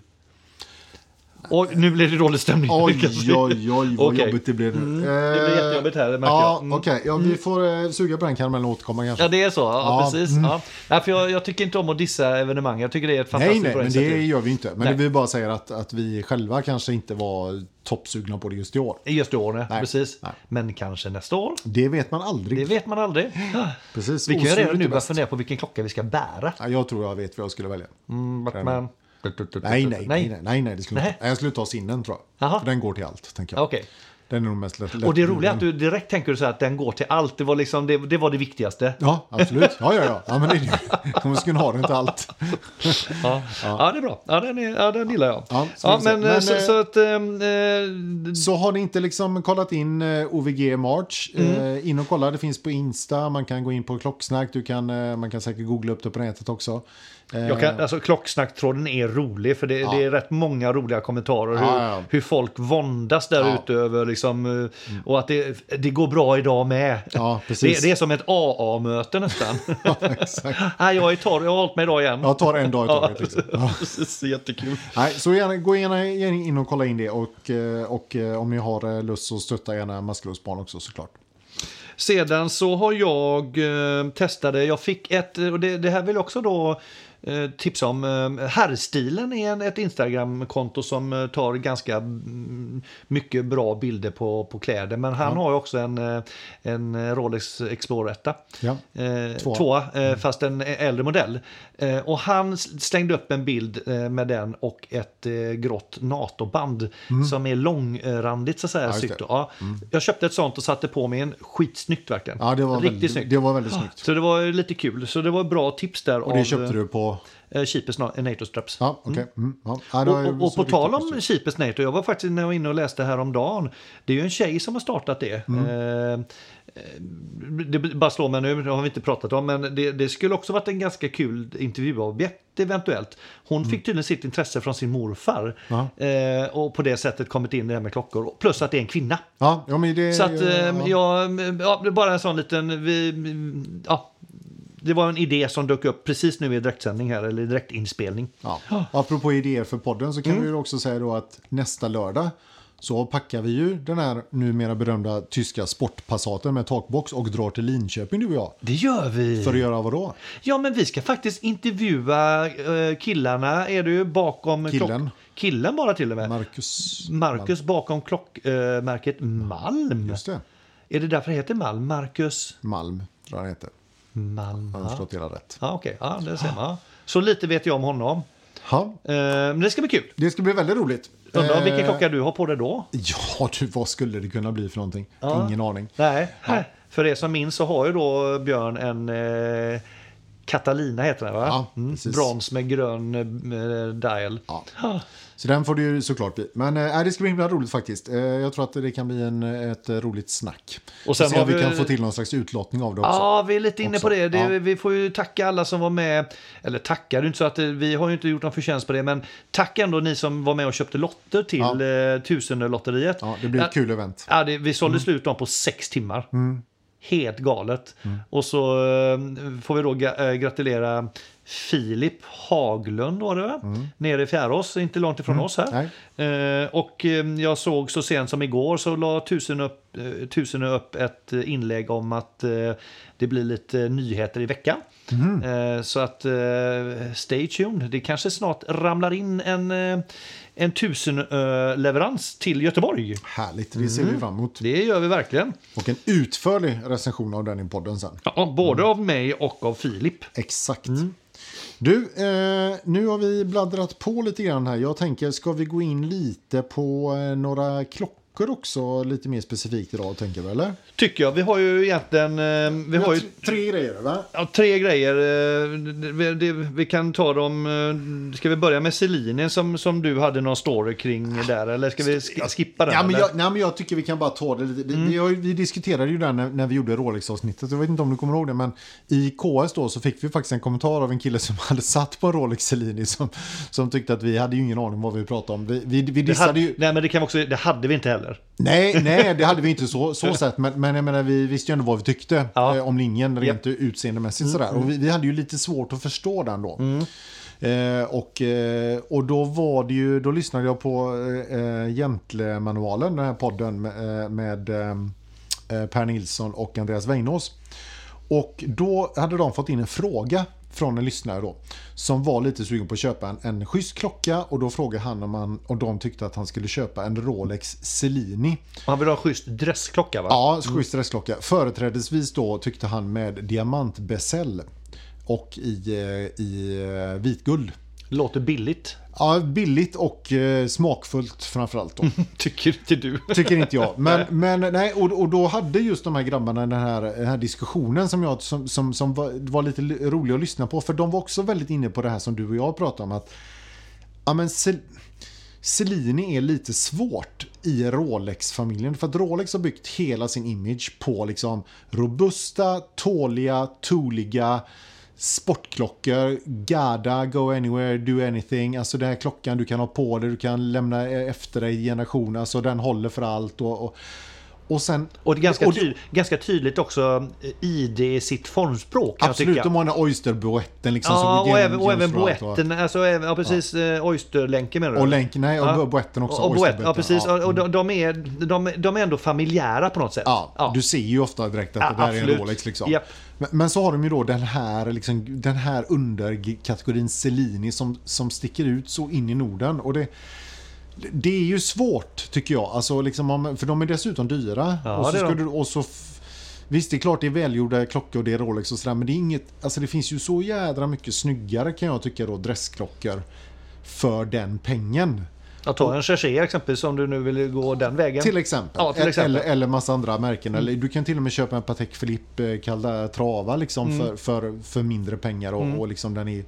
Speaker 1: Och nu blir det dålig stämning.
Speaker 2: Oj,
Speaker 1: Kanske.
Speaker 2: oj, oj,
Speaker 1: Okej.
Speaker 2: vad
Speaker 1: Mm.
Speaker 2: jobbigt det blir nu.
Speaker 1: det blir
Speaker 2: Eh,
Speaker 1: jättejobbigt här, det märker
Speaker 2: ja,
Speaker 1: jag. Mm.
Speaker 2: Okej, ja, vi får eh, suga på den karamellen och återkomma kanske.
Speaker 1: Ja, det är så. Ja,
Speaker 2: Ja, mm.
Speaker 1: precis. Ja. Nej, för jag, jag tycker inte om att dissa evenemang. Jag tycker det är ett
Speaker 2: nej,
Speaker 1: fantastiskt
Speaker 2: nej,
Speaker 1: bra
Speaker 2: men
Speaker 1: initiativ.
Speaker 2: det gör vi inte. Men
Speaker 1: Nej.
Speaker 2: det vi bara säger att, att vi själva kanske inte var toppsugna på det just i år.
Speaker 1: Just i år, nej.
Speaker 2: Nej,
Speaker 1: precis.
Speaker 2: nej.
Speaker 1: Men kanske nästa år.
Speaker 2: Det vet man aldrig.
Speaker 1: Det vet man aldrig.
Speaker 2: Precis.
Speaker 1: Vi kan ju
Speaker 2: Osvuret
Speaker 1: redan
Speaker 2: är
Speaker 1: nu börja
Speaker 2: bäst.
Speaker 1: fundera på vilken klocka vi ska bära.
Speaker 2: Ja, jag tror jag vet vad jag skulle välja.
Speaker 1: Mm, Batman.
Speaker 2: Nej, nej, nej, nej, nej, nej, det skulle jag
Speaker 1: Nej.
Speaker 2: inte. Nej, jag skulle ta sinnen tror jag.
Speaker 1: Jaha.
Speaker 2: För den går till allt, tänker jag.
Speaker 1: Okej.
Speaker 2: Den är nog mest lätt.
Speaker 1: Och det är roliga är att du direkt tänker du så här att den går till allt. Det var, liksom, det, det, var det viktigaste.
Speaker 2: Ja, absolut. Ja, ja, ja. ja men det är det. De skulle ha den till allt.
Speaker 1: Ja, ja det är bra. Ja, den, är, ja, den gillar jag.
Speaker 2: Ja,
Speaker 1: Ja,
Speaker 2: så får vi se.
Speaker 1: men, eh,
Speaker 2: Men,
Speaker 1: så,
Speaker 2: eh,
Speaker 1: så att... ehm, eh,
Speaker 2: Så har ni inte liksom kollat in eh, OVG March,
Speaker 1: Mm.
Speaker 2: eh, in och kolla. Det finns på Insta, man kan gå in på Klocksnack, du kan, eh, man kan säkert googla upp det på nätet också. Eh,
Speaker 1: jag kan, alltså, klocksnacktråden är rolig för det, det är rätt många roliga kommentarer. Hur,
Speaker 2: Ja, ja.
Speaker 1: hur folk våndas där
Speaker 2: Ja. Mm.
Speaker 1: ute över liksom, eh, och att det, det går bra idag med.
Speaker 2: Ja, precis.
Speaker 1: Det, det är som ett AA-möte nästan.
Speaker 2: Ja, exakt.
Speaker 1: Nej, jag är torr, jag har hållit mig idag igen.
Speaker 2: Jag tar en dag i
Speaker 1: Ja,
Speaker 2: taget. Liksom. Ja.
Speaker 1: precis, jättekul.
Speaker 2: Nej, så gärna, gå gärna in och kolla in det och, eh, och eh, om ni har eh, lust så stötta gärna Maskrosbarn också såklart.
Speaker 1: Sedan så har jag eh, testade, jag fick ett, eh, och det, det här vill jag också då eh, tipsa om. Eh, Herrstilen är en, ett Instagramkonto som eh, tar ganska mm, mycket bra bilder på, på kläder. Men han har ju också en, eh, en Rolex Exploretta.
Speaker 2: Ja.
Speaker 1: Eh,
Speaker 2: Tvåa. Mm.
Speaker 1: tvåa, eh, fast en äldre modell. Eh, och han s- slängde upp en bild eh, med den och ett eh, grått NATO-band
Speaker 2: Mm.
Speaker 1: som är långrandigt så att säga.
Speaker 2: just det. Mm.
Speaker 1: sytt då. Ja. Jag köpte ett sånt och satte på mig en skitsnyggt verkligen.
Speaker 2: Ja, det var,
Speaker 1: Riktigt
Speaker 2: väldigt,
Speaker 1: snyggt.
Speaker 2: det var väldigt snyggt.
Speaker 1: Så det var ju lite kul. Så det var bra tips där.
Speaker 2: Och det köpte du på...
Speaker 1: du? Cheapest Na- eh, NATO Straps.
Speaker 2: Ja, okej. Mm, ja. Ja, det
Speaker 1: Och,
Speaker 2: var ju
Speaker 1: och, och
Speaker 2: så
Speaker 1: på
Speaker 2: riktigt
Speaker 1: tal om
Speaker 2: positivt.
Speaker 1: Cheapest NATO, jag var faktiskt när jag var inne och läste häromdagen. Det är ju en tjej som har startat det.
Speaker 2: Mm.
Speaker 1: Eh, det bara slår mig nu, det har vi inte pratat om, men det, det skulle också varit en ganska kul intervjuobjekt eventuellt. Hon fick tydligen sitt intresse från sin morfar
Speaker 2: Mm. Ja.
Speaker 1: eh, och på det sättet kommit in i det här med klockor. Plus att det är en kvinna.
Speaker 2: Ja, ja, men det...
Speaker 1: Så att eh,
Speaker 2: ja.
Speaker 1: jag, ja, det är bara en sån liten, vi, ja, det var en idé som dök upp precis nu i direktsändning här, eller direktinspelning. Mm.
Speaker 2: Ja. Apropå idéer för podden så kan vi ju också säga då att nästa lördag så packar vi ju den här numera berömda tyska sportpassaten med takbox och drar till Linköping du och jag.
Speaker 1: Det gör vi.
Speaker 2: För att göra vadå?
Speaker 1: Ja, men vi ska faktiskt intervjua eh, killarna. Är du bakom...
Speaker 2: Killen.
Speaker 1: Killen bara till och med.
Speaker 2: Marcus.
Speaker 1: Marcus bakom klockmärket Malm.
Speaker 2: Just det.
Speaker 1: Är det därför det heter Malm? Marcus
Speaker 2: Malm tror jag han heter.
Speaker 1: Malm.
Speaker 2: Har jag
Speaker 1: Ja,
Speaker 2: förstått Ah. hela rätt.
Speaker 1: ja okej. Ja, det ser man. Så lite vet jag om honom.
Speaker 2: Ja,
Speaker 1: Eh, Men det ska bli kul.
Speaker 2: det ska bli väldigt roligt.
Speaker 1: Undrar vilken
Speaker 2: Eh,
Speaker 1: klocka du har på dig då?
Speaker 2: Ja, du, vad skulle det kunna bli för någonting?
Speaker 1: Ja.
Speaker 2: Ingen aning.
Speaker 1: Nej. För er som minns så har ju då Björn en eh, Catalina heter den va? Mm.
Speaker 2: Ja, precis.
Speaker 1: Brons med grön eh, dial.
Speaker 2: Ja. Så den får det ju såklart bli. Men eh, det ska bli himla roligt faktiskt. Eh, Jag tror att det kan bli en, ett eh, roligt snack.
Speaker 1: Och
Speaker 2: Och
Speaker 1: sen
Speaker 2: sen se
Speaker 1: har
Speaker 2: om vi
Speaker 1: vi-
Speaker 2: kan få till någon slags utlottning av det också.
Speaker 1: Ja, vi är lite inne
Speaker 2: Också.
Speaker 1: på det. det
Speaker 2: Ja.
Speaker 1: Vi får ju tacka alla som var med. Eller tacka, det är inte så att eh, vi har ju inte gjort någon förtjänst på det. Men tack ändå ni som var med och köpte lotter till
Speaker 2: Ja.
Speaker 1: ja. Tusenlotteriet.
Speaker 2: Ja, det blir ett
Speaker 1: Ja,
Speaker 2: kul event.
Speaker 1: Ja, det, vi sålde slut dem på sex timmar. Helt galet. Och så eh, får vi då ga- eh, gratulera Filip Haglund var det va? Nere i Fjärås, inte långt ifrån oss här.
Speaker 2: Nej.
Speaker 1: Eh, och eh, jag såg så sent som igår så la tusen upp, eh, tusen upp ett eh, inlägg om att eh, det blir lite nyheter i veckan. Eh, så att eh, stay tuned. Det kanske snart ramlar in en, eh, en tusen eh, leverans till Göteborg.
Speaker 2: Härligt, det ser
Speaker 1: Mm.
Speaker 2: vi fram emot.
Speaker 1: Det gör vi verkligen.
Speaker 2: Och en utförlig recension av den i podden sen.
Speaker 1: Ja, både av mig och av Filip.
Speaker 2: Exakt.
Speaker 1: Mm.
Speaker 2: Du, eh, nu har vi bladdrat på lite grann här. Jag tänker, ska vi gå in lite på eh, några klockor också? Lite mer specifikt idag, tänker vi, eller?
Speaker 1: Tycker jag. Vi har ju egentligen... eh, Vi har ju
Speaker 2: Tre grejer, va?
Speaker 1: ja, tre grejer. eh, Vi, det, vi kan ta dem... eh, Ska vi börja med Celine som, som du hade någon story kring där? Eller ska vi sk- skippa den?
Speaker 2: Ja, men
Speaker 1: eller? Mm.
Speaker 2: jag, nej, men jag tycker vi kan bara ta det lite. Vi, vi, har ju- vi diskuterade ju det här när, när vi gjorde Rolex-avsnittet. Jag vet inte om du kommer ihåg det, men i KS då så fick vi faktiskt en kommentar av en kille som hade satt på en Rolex Cellini som, som tyckte att vi hade ju ingen aning om vad vi pratade om. Vi, vi, vi
Speaker 1: det, hade,
Speaker 2: dissade ju...
Speaker 1: nej, men det, kan vi också, det hade vi inte heller.
Speaker 2: Nej, nej, det hade vi inte så, så sett, men, men jag menar, vi visste ju ändå vad vi tyckte
Speaker 1: Ja.
Speaker 2: eh, om linjen rent utseendemässigt. Sådär. Och vi, vi hade ju lite svårt att förstå den då. Eh, och, eh, och då var det ju, då lyssnade jag på eh, eh, Jämtlemanualen, den här podden med, eh, med eh, eh, Per Nilsson och Andreas Weinås. Och då hade de fått in en fråga från en lyssnare då, som var lite sugen på att köpa en, en schysst klocka och då frågade han om, han, om de tyckte att han skulle köpa en Rolex Cellini.
Speaker 1: Han vill ha en schysst dressklocka va?
Speaker 2: Ja, schysst restklocka. Företrädesvis då tyckte han med diamantbesäll och i, eh, i eh, vitguld.
Speaker 1: Låter billigt.
Speaker 2: Ja, billigt och eh, smakfullt framförallt. Då.
Speaker 1: Tycker inte du?
Speaker 2: Tycker inte jag. Men, men nej, och, och då hade just de här grabbarna den här, den här diskussionen som, jag, som, som, som var, var lite l- rolig att lyssna på. För de var också väldigt inne på det här som du och jag pratade om. Att, ja, men Cel- Cellini är lite svårt i Rolex-familjen. För att Rolex har byggt hela sin image på liksom robusta, tåliga, toliga sportklockor, Garda, Go Anywhere, Do Anything. Alltså den här klockan du kan ha på dig, du kan lämna e-, efter dig i generationer. Alltså den håller för allt. Och, och, och sen...
Speaker 1: Och det är ganska,
Speaker 2: och det-
Speaker 1: tyd, ganska tydligt också eh, ID i sitt formspråk. kan jag
Speaker 2: Absolut,
Speaker 1: tycka.
Speaker 2: de har den här oysterboetten liksom.
Speaker 1: Ja,
Speaker 2: går
Speaker 1: och
Speaker 2: genom-
Speaker 1: även, och även
Speaker 2: genom allt och-
Speaker 1: boetten. Alltså, även, ja, precis. eh, Oysterlänken menar du?
Speaker 2: Och länken, nej, och
Speaker 1: Ja.
Speaker 2: boetten också.
Speaker 1: Och, och boett,
Speaker 2: oysterboetten,
Speaker 1: ja precis. Och de, de, är, de, de är ändå familjära på något sätt.
Speaker 2: Ja, du ser ju ofta direkt att
Speaker 1: Ja,
Speaker 2: det där är
Speaker 1: absolut.
Speaker 2: en Rolex. Liksom.
Speaker 1: Japp.
Speaker 2: Men, men så har de ju då den här, liksom, den här underkategorin Cellini som, som sticker ut så in i Norden. Och det, det är ju svårt tycker jag. Alltså, liksom, om- för de är dessutom dyra.
Speaker 1: Ja,
Speaker 2: och så
Speaker 1: det är
Speaker 2: ska
Speaker 1: de.
Speaker 2: du, och så f- Visst, det är klart det är välgjorda klockor och det är Rolex och sådär, men det, är inget, alltså det finns ju så jädra mycket snyggare kan jag tycka då, dressklockor för den pengen.
Speaker 1: Jag tar en Cherché exempelvis om du nu vill gå den vägen.
Speaker 2: Till exempel.
Speaker 1: Ja, till exempel. Mm.
Speaker 2: Eller, eller massa andra märken. Eller du kan till och med köpa en Patek Philippe Calda Trava liksom,
Speaker 1: Mm.
Speaker 2: för, för, för mindre pengar. Och, och liksom den är...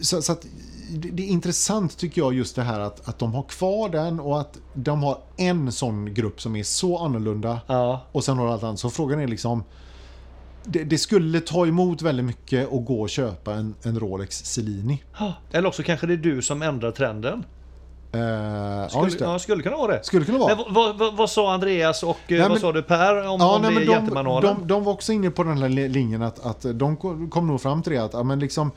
Speaker 2: Så, så att, det, det är intressant tycker jag just det här att, att de har kvar den och att de har en sån grupp som är så annorlunda.
Speaker 1: Ja.
Speaker 2: Och sen har du allt annat. Så frågan är liksom... Det, det skulle ta emot väldigt mycket att gå och köpa en, en Rolex Cellini.
Speaker 1: Eller också kanske det är du som ändrar trenden.
Speaker 2: Eh, ja,
Speaker 1: Skulle,
Speaker 2: just det.
Speaker 1: ja, skulle kunna vara det.
Speaker 2: Skulle kunna vara.
Speaker 1: Men vad, vad, vad, vad sa Andreas och eh, vad
Speaker 2: men-
Speaker 1: sa du Per om, om
Speaker 2: nej,
Speaker 1: det
Speaker 2: men
Speaker 1: är
Speaker 2: de,
Speaker 1: jättemanualen?
Speaker 2: de, de var också inne på den här li- linjen att, att de kom kom nog fram till det att ja, men liksom,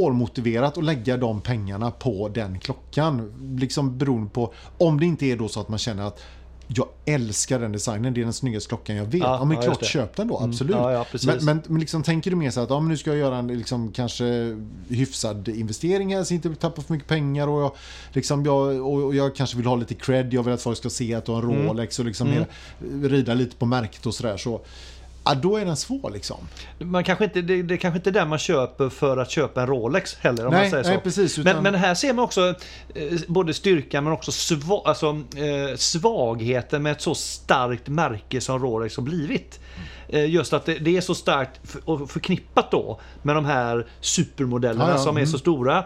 Speaker 2: svårmotiverat att lägga de pengarna på den klockan. Liksom beroende på, om det inte är då så att man känner att jag älskar den designen, det är den snyggaste klockan jag vet. Ja,
Speaker 1: Ja,
Speaker 2: men
Speaker 1: ja, just
Speaker 2: klart
Speaker 1: det. Mm.
Speaker 2: köp den då, absolut.
Speaker 1: Ja, ja, precis.
Speaker 2: men men, men liksom, tänker du mer så att ja, men nu ska jag göra en liksom, kanske hyfsad investering här så jag inte tappar för mycket pengar och jag, liksom, jag, och och jag kanske vill ha lite cred, jag vill att folk ska se att du har en
Speaker 1: Mm.
Speaker 2: Rolex och liksom mer, rida lite på märket och sådär. Så, ja, då är den svår liksom.
Speaker 1: Man kanske inte, det, det är kanske inte är där man köper för att köpa en Rolex heller om
Speaker 2: Nej,
Speaker 1: man säger så.
Speaker 2: nej, precis, utan-
Speaker 1: men, men här ser man också eh, både styrkan men också sva, alltså, eh, svagheten med ett så starkt märke som Rolex har blivit. Eh, just att det, det är så starkt f- och förknippat då med de här supermodellerna
Speaker 2: Ja, ja,
Speaker 1: som är
Speaker 2: mm.
Speaker 1: så stora.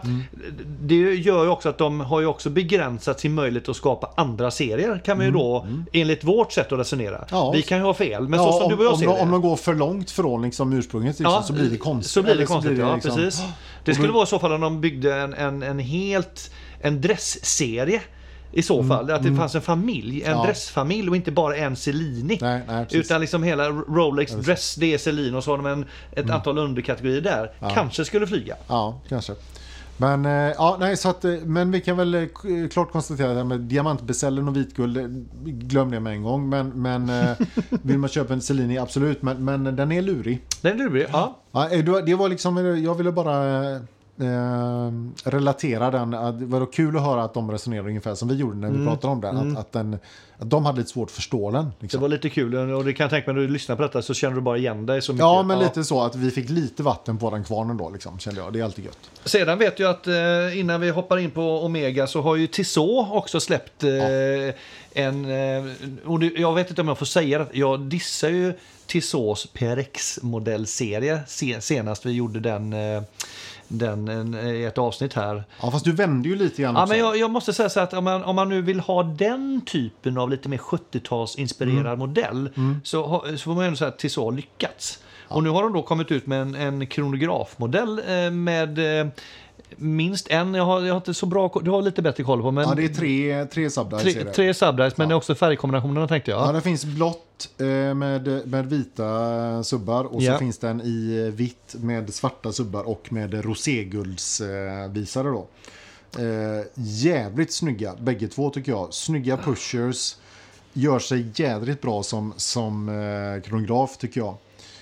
Speaker 1: Det gör ju också att de har ju också begränsat sin möjlighet att skapa andra serier kan man ju då enligt vårt sätt att resonera.
Speaker 2: Mm. Ja.
Speaker 1: Vi kan ju ha fel men
Speaker 2: Ja,
Speaker 1: så som
Speaker 2: om,
Speaker 1: du och jag
Speaker 2: om,
Speaker 1: ser
Speaker 2: de,
Speaker 1: det.
Speaker 2: om de går för långt från liksom, ursprunget liksom, så blir det konstigt.
Speaker 1: Så blir
Speaker 2: Eller
Speaker 1: det konstigt,
Speaker 2: blir
Speaker 1: ja
Speaker 2: liksom-
Speaker 1: precis. Det skulle vara i så fall om de byggde en, en, en helt en dressserie. I så fall, att det fanns en familj, en
Speaker 2: Mm, Ja.
Speaker 1: dressfamilj och inte bara en Cellini.
Speaker 2: Nej, nej, precis.
Speaker 1: utan liksom hela Rolex Dress, det är Celine och så har de en, ett
Speaker 2: Mm.
Speaker 1: antal underkategorier där. Kanske skulle flyga.
Speaker 2: Ja, kanske. Men, eh, ja, nej, så att, eh, men vi kan väl eh, k- eh, klart konstatera att det här med diamantbesällen och vitguld, eh, glöm det med en gång. Men, men eh, vill man köpa en Cellini, absolut. Men, men den är lurig.
Speaker 1: Nej, det blir, ja.
Speaker 2: Ja, eh, det var- det var liksom, eh, jag ville bara eh, eh, relatera den. Att det var kul att höra att de resonerade ungefär som vi gjorde när vi
Speaker 1: Mm.
Speaker 2: pratade om den. Att, att, den att de hade lite svårt att förstå den.
Speaker 1: Det
Speaker 2: Liksom.
Speaker 1: var lite kul och det kan jag tänka mig när du lyssnar på detta så känner du bara igen dig så mycket.
Speaker 2: Ja, men lite så att vi fick lite vatten på den kvarnen då, liksom, kände jag. Det är alltid gött.
Speaker 1: Sedan vet jag att eh, innan vi hoppar in på Omega så har ju Tissot också släppt eh, en... Eh, och det, jag vet inte om jag får säga det. Jag dissar ju Tissots PRX-modellserie se, senast vi gjorde den, eh, den en, i ett avsnitt här.
Speaker 2: Ja, fast du vände ju lite grann
Speaker 1: Ja,
Speaker 2: också.
Speaker 1: men jag, jag måste säga så här att om man, om man nu vill ha den typen av lite mer 70-talsinspirerad
Speaker 2: Mm.
Speaker 1: modell så, har- så får man ju ändå säga att Tissot har lyckats. Och nu har de då kommit ut med en, en kronografmodell eh, med eh, minst en, jag har, jag har inte så bra koll- du har lite bättre koll på men
Speaker 2: Ja, det är tre, tre subdials.
Speaker 1: tre,
Speaker 2: är det.
Speaker 1: tre subdials men det är också färgkombinationerna tänkte jag.
Speaker 2: Ja, det finns blått eh, med, med vita eh, subbar och så
Speaker 1: Ja.
Speaker 2: finns den i eh, vitt med svarta subbar och med roséguldsvisare då. Eh, jävligt snygga bägge två tycker jag. Snygga pushers. Gör sig jädrigt bra som, som eh, kronograf tycker jag.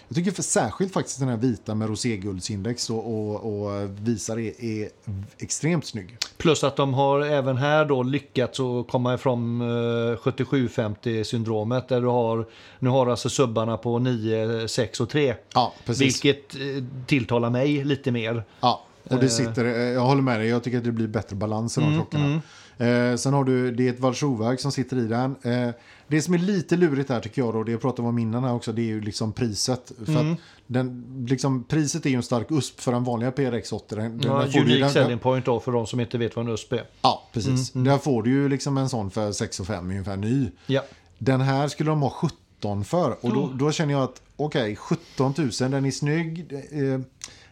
Speaker 2: Jag tycker för särskilt faktiskt den här vita med roséguldsindex och, och, och visare är, är extremt snygg.
Speaker 1: Plus att de har även här då lyckats att komma ifrån eh, 7750-syndromet där du har, nu har du alltså subbarna på 9, 6 och 3.
Speaker 2: Ja, precis.
Speaker 1: Vilket eh, tilltalar mig lite mer.
Speaker 2: Ja, och det sitter, eh, jag håller med dig, jag tycker att det blir bättre balans i de klockorna. Eh, sen har du, det är ett valsjoverk som sitter i den. Eh, det som är lite lurigt här tycker jag då, det jag pratade om innan här också, det är ju liksom priset. För att den, liksom, priset är ju en stark USP för den vanliga PRX 80. Den, den
Speaker 1: Ja,
Speaker 2: där får du ju-
Speaker 1: unik
Speaker 2: den-
Speaker 1: selling point då för de som inte vet vad en USP är.
Speaker 2: Ja, precis. Där får du ju liksom en sån för 6 och 5 ungefär ny.
Speaker 1: Ja.
Speaker 2: Den här skulle de ha 17 för och då, då känner jag att okej, 17 000, den är snygg. Det, eh,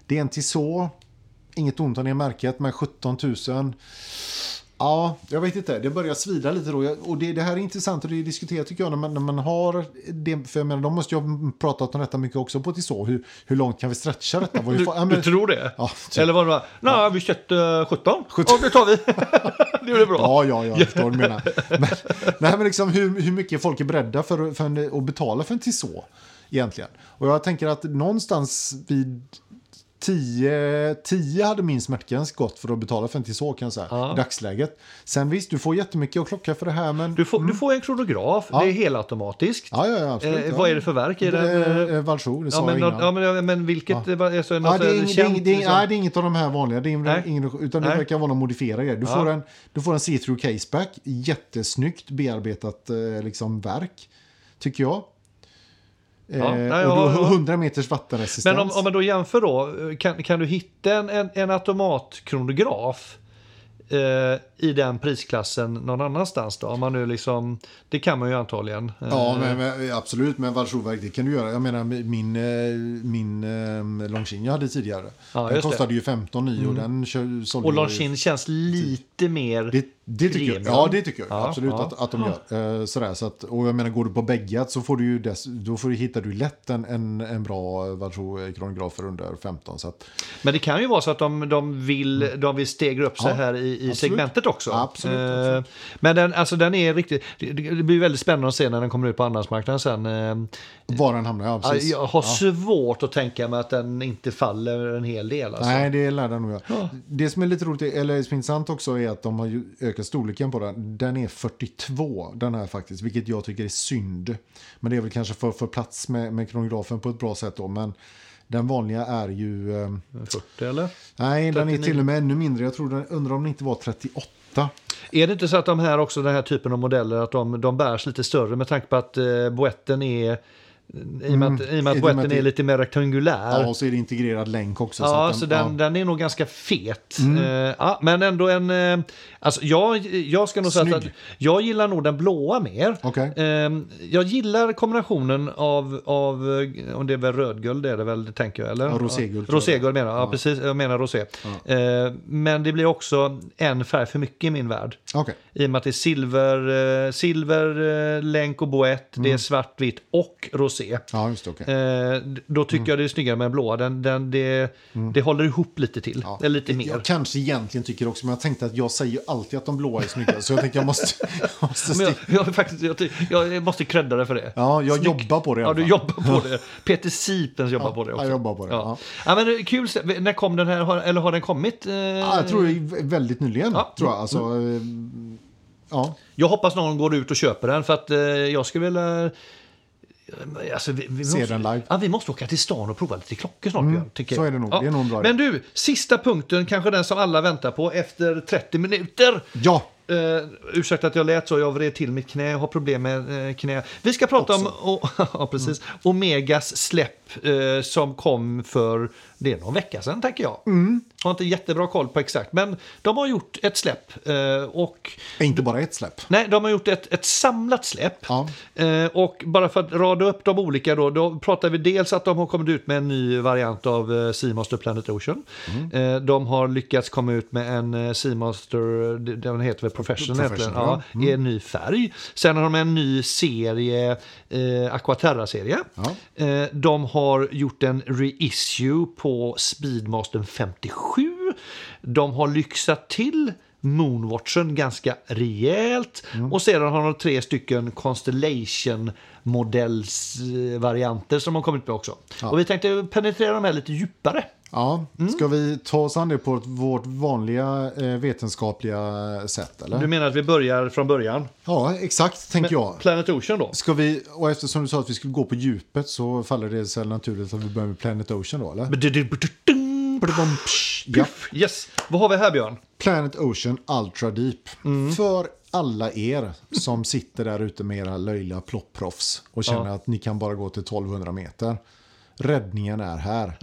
Speaker 2: det är en Tissot, inget ont om det märket, men 17 000. Ja, jag vet inte, det börjar svida lite då. Jag- Och det, det här är intressant att diskutera tycker jag när man, när man har det, för jag menar, de måste ju ha pratat om detta mycket också på Tissot. Hur, hur långt kan vi stretcha detta? Vad är
Speaker 1: Du,
Speaker 2: fa- ja, men-
Speaker 1: du tror det?
Speaker 2: Ja, typ.
Speaker 1: Eller var det bara, nej vi köpte 17 och det tar vi. det blir bra.
Speaker 2: Ja, ja, ja, jag förstår vad du menar. Men, nej, men liksom hur, hur mycket folk är beredda för, för en, att betala för en Tissot egentligen. Och jag tänker att någonstans vid 10, 10 hade min smärtgräns gått för att betala för en Tissot kan jag säga,
Speaker 1: Ja.
Speaker 2: i dagsläget. Sen visst, du får jättemycket att klocka för det här, men...
Speaker 1: Du, får, du får en kronograf, det är helautomatiskt.
Speaker 2: Mm. Ja, ja, ja, absolut.
Speaker 1: eh,
Speaker 2: ja.
Speaker 1: Vad är det för verk? Är det, eh,
Speaker 2: Eh, eh, Valsjö, det sa
Speaker 1: ja, men,
Speaker 2: jag innan.
Speaker 1: något- ja, men, ja, men vilket? Ja. Alltså, något
Speaker 2: Ja, det, är ing, det, är ing,
Speaker 1: känt,
Speaker 2: det, är, ing-
Speaker 1: liksom?
Speaker 2: nej, det är inget av de här vanliga, det är
Speaker 1: Nej.
Speaker 2: ingen, utan det
Speaker 1: Nej.
Speaker 2: verkar vara någon modifierad grej. Du,
Speaker 1: Ja.
Speaker 2: får en, du får en see-through caseback, jättesnyggt bearbetat eh, liksom, verk, tycker jag. Eh,
Speaker 1: Ja, nej,
Speaker 2: och du
Speaker 1: ja,
Speaker 2: har
Speaker 1: ja.
Speaker 2: 100 meters vattenresistens.
Speaker 1: Men om, om man då jämför då, eh, kan, kan du hitta en, en, en automatkronograf eh, i den prisklassen någon annanstans då? Om man nu liksom, det kan man ju antagligen. Eh,
Speaker 2: Ja, men, men, absolut, men Valsjoverk, det kan du göra. Jag menar, min, eh, min eh, Longines jag hade tidigare,
Speaker 1: Ja,
Speaker 2: den
Speaker 1: just det. Mm.
Speaker 2: kostade ju 15 000 och den kö- sålde
Speaker 1: och
Speaker 2: jag ju-
Speaker 1: Longines känns lite mer
Speaker 2: Det är Det tycker jag,
Speaker 1: premium.
Speaker 2: ja, det tycker jag
Speaker 1: Ja,
Speaker 2: absolut
Speaker 1: ja.
Speaker 2: Att, att de gör. Eh, sådär, så att, och jag menar, går du på bägge så får du ju dess, då får du, hittar du lätt en, en, en bra eh, vad tror, jag, kronograf för under 15. Så att,
Speaker 1: Men det kan ju vara så att de, de, vill, de vill stegra upp sig
Speaker 2: Mm. Ja,
Speaker 1: här i, i
Speaker 2: absolut.
Speaker 1: segmentet också.
Speaker 2: Absolut,
Speaker 1: Eh,
Speaker 2: absolut.
Speaker 1: Men den, alltså den är riktigt, det, det blir väldigt spännande att se när den kommer ut på andrahandsmarknaden sen. Eh,
Speaker 2: var den hamnar, ja precis.
Speaker 1: Jag har
Speaker 2: ja.
Speaker 1: svårt att tänka mig att den inte faller en hel del. Alltså.
Speaker 2: Nej, det lär den nog göra.
Speaker 1: Ja.
Speaker 2: Det som är lite roligt, eller som är intressant också, är att de har ju ökat storleken på den. Den är 42, den här faktiskt, vilket jag tycker är synd. Men det är väl kanske för, för plats med, med kronografen på ett bra sätt då. Men den vanliga är ju... Eh,
Speaker 1: 40 eller?
Speaker 2: nej, den är
Speaker 1: 39.
Speaker 2: till och med ännu mindre. Jag tror den, undrar om den inte var 38.
Speaker 1: Är det inte så att de här också, den här typen av modeller, att de, de bärs lite större med tanke på att eh, boetten är i och med att, i och med
Speaker 2: Mm.
Speaker 1: att
Speaker 2: i och med att
Speaker 1: boetten
Speaker 2: det-
Speaker 1: är lite mer rektangulär.
Speaker 2: Ja, och så är det integrerad länk också.
Speaker 1: Ja,
Speaker 2: att
Speaker 1: så den,
Speaker 2: ja. Mm.
Speaker 1: den är nog ganska fet. Eh, ja, men ändå en... Eh, alltså jag, jag ska nog säga att
Speaker 2: Snygg.
Speaker 1: jag gillar nog den blåa mer.
Speaker 2: Okej.
Speaker 1: Eh, jag gillar kombinationen av, av, eh, om det är väl rödguld är det väl, det tänker jag, eller?
Speaker 2: Ja, roséguld tror jag.
Speaker 1: Roséguld menar jag, ja, precis, jag menar rosé. Eh, men det blir också en färg för mycket i min värld.
Speaker 2: Okej.
Speaker 1: I och med att det är silver, eh, silver eh, länk och boett,
Speaker 2: Mm.
Speaker 1: det är svartvitt och rosé.
Speaker 2: Ja, just det. okej.
Speaker 1: Eh, d- då
Speaker 2: Mm.
Speaker 1: tycker jag det är snyggare med den blåa. Den, den, det, det håller ihop lite till.
Speaker 2: Ja.
Speaker 1: Eller lite mer.
Speaker 2: Jag kanske egentligen tycker också, men jag tänkte att jag säger ju alltid att de blåa är snygga, så jag tänkte jag måste... jag måste
Speaker 1: Men jag,
Speaker 2: sticka-
Speaker 1: jag, är faktiskt, jag, ty- jag måste credda dig för det.
Speaker 2: Ja, jag
Speaker 1: Snyggt.
Speaker 2: jobbar på det i
Speaker 1: Ja,
Speaker 2: alla
Speaker 1: du
Speaker 2: fall.
Speaker 1: jobbar på det. Peter Sipens jobbar
Speaker 2: Ja,
Speaker 1: på det
Speaker 2: jag
Speaker 1: också.
Speaker 2: jobbar på det, ja.
Speaker 1: Ja, men det är kul. se- När kom den här? Har- Eller har den kommit? Eh,
Speaker 2: Ja, jag tror det är väldigt nyligen.
Speaker 1: Ja. Mm.
Speaker 2: Tror jag. Alltså, eh, ja.
Speaker 1: Jag hoppas någon går ut och köper den för att eh, jag skulle vilja... Alltså, vi, vi
Speaker 2: Se
Speaker 1: måste,
Speaker 2: den live. Mm,
Speaker 1: Ja, vi måste åka till stan och prova lite klockor snart. Björn, tycker
Speaker 2: så
Speaker 1: jag.
Speaker 2: är det nog.
Speaker 1: Ja.
Speaker 2: Det är nog en bra
Speaker 1: Men du, sista punkten, kanske den som alla väntar på efter 30 minuter.
Speaker 2: ja.
Speaker 1: Uh, ursäkta att jag lät så, jag vred till mitt knä, jag har problem med eh, knä. Vi ska prata om o- ja, precis,
Speaker 2: Mm.
Speaker 1: Omegas släpp eh, som kom för det är någon vecka sedan tänker jag.
Speaker 2: Mm.
Speaker 1: Har inte jättebra koll på exakt, men de har gjort ett släpp. eh, och,
Speaker 2: Inte bara ett släpp.
Speaker 1: nej, de har gjort ett, ett samlat släpp.
Speaker 2: Ja.
Speaker 1: Eh, och bara för att rada upp de olika då, då pratar vi dels att de har kommit ut med en ny variant av eh, Seamaster Planet Ocean. Eh,
Speaker 2: Mm.
Speaker 1: de har lyckats komma ut med en eh, Seamaster, d- den heter väl Professional,
Speaker 2: Professional,
Speaker 1: egentligen,
Speaker 2: ja.
Speaker 1: ja, i en ny färg. Sen har de en ny serie, eh, Aquaterra-serie.
Speaker 2: Ja.
Speaker 1: Eh, de har gjort en reissue på Speedmaster 57. De har lyxat till Moonwatchen ganska rejält.
Speaker 2: Mm.
Speaker 1: Och sedan har de tre stycken Constellation-modellsvarianter som har kommit med också. Och vi tänkte penetrera de här lite djupare.
Speaker 2: Ja.
Speaker 1: Mm.
Speaker 2: Ska vi ta oss an det på ett- vårt vanliga eh, vetenskapliga sätt? Eller?
Speaker 1: Du menar att vi börjar från början?
Speaker 2: Ja, exakt tänker jag.
Speaker 1: Planet Ocean då?
Speaker 2: Ska vi, och eftersom du sa att vi skulle gå på djupet så faller det sig naturligt att vi börjar med Planet Ocean då, eller? Ja.
Speaker 1: Yes, vad har vi här Björn?
Speaker 2: Planet Ocean Ultra Deep. För alla er som sitter där ute med era löjliga plopproffs och känner att ni kan bara gå till 1200 meter. Räddningen är här.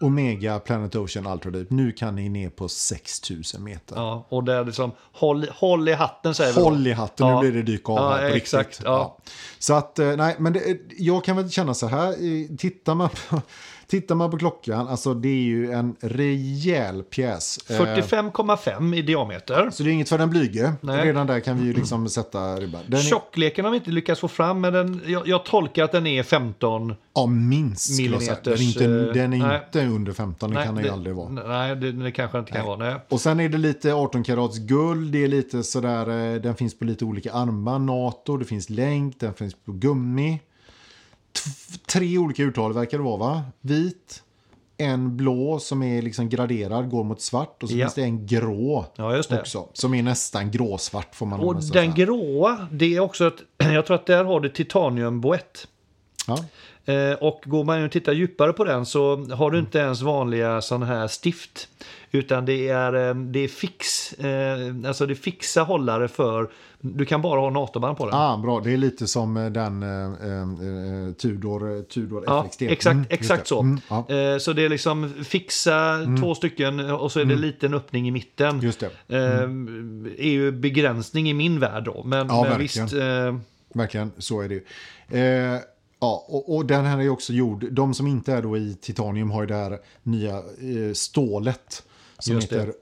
Speaker 2: Omega Planet Ocean Ultra Deep. Nu kan ni ner på 6000 meter.
Speaker 1: Ja, och där liksom, håll, håll i hatten säger vi då.
Speaker 2: Håll i hatten,
Speaker 1: Ja.
Speaker 2: nu blir det dyka av
Speaker 1: Ja,
Speaker 2: här på
Speaker 1: exakt,
Speaker 2: riktigt.
Speaker 1: ja.
Speaker 2: Så att, eh, nej, men det, jag kan väl känna så här, eh, tittar man på, tittar man på klockan, alltså det är ju en rejäl pjäs. Eh,
Speaker 1: 45,5 i diameter.
Speaker 2: Så det är inget för den blyge.
Speaker 1: Nej.
Speaker 2: Redan där kan vi ju liksom sätta ribban. Den är,
Speaker 1: Tjockleken har vi inte lyckats få fram, men den, jag, jag tolkar att den är 15.
Speaker 2: ja, minst skulle jag säga. Den är inte,
Speaker 1: Millimeters, eh,
Speaker 2: den är
Speaker 1: nej.
Speaker 2: inte under 15, det kan den ju aldrig vara.
Speaker 1: Nej, det, det kanske inte kan vara. Nej.
Speaker 2: Och sen är det lite 18 karats guld, det är lite sådär, eh, den finns på lite olika armar, NATO, det finns länk, den finns på gummi. T- tre olika urtal verkar det vara va? Vit, en blå som är liksom graderad, går mot svart och så
Speaker 1: Ja.
Speaker 2: finns det en grå
Speaker 1: Ja, just det.
Speaker 2: också. Som är nästan gråsvart får man
Speaker 1: Och
Speaker 2: nästan
Speaker 1: den
Speaker 2: säga.
Speaker 1: gråa, det är också att jag tror att där har du titaniumboett.
Speaker 2: Ja.
Speaker 1: Eh, och går man in och tittar djupare på den så har
Speaker 2: Mm.
Speaker 1: du inte ens vanliga sådana här stift. Utan det är, eh, det är fix, eh, alltså det är fixa hållare för, du kan bara ha NATO-band på den.
Speaker 2: Ah, bra, det är lite som eh, den eh, eh, eh, Tudor, Tudor
Speaker 1: Ja,
Speaker 2: FXT.
Speaker 1: exakt,
Speaker 2: Mm, just
Speaker 1: exakt
Speaker 2: det.
Speaker 1: så.
Speaker 2: Mm, ja. Mm.
Speaker 1: Eh, Så det är liksom fixa två stycken och så är det en liten öppning i mitten.
Speaker 2: Just det. Mm.
Speaker 1: Eh, är ju begränsning i min värld då. Men,
Speaker 2: Ja,
Speaker 1: men
Speaker 2: verkligen.
Speaker 1: visst, eh,
Speaker 2: Verkligen, så är det ju. Eh, ja, och, och den här är ju också gjord, de som inte är då i titanium har ju det här nya eh, stålet som
Speaker 1: Just det.
Speaker 2: heter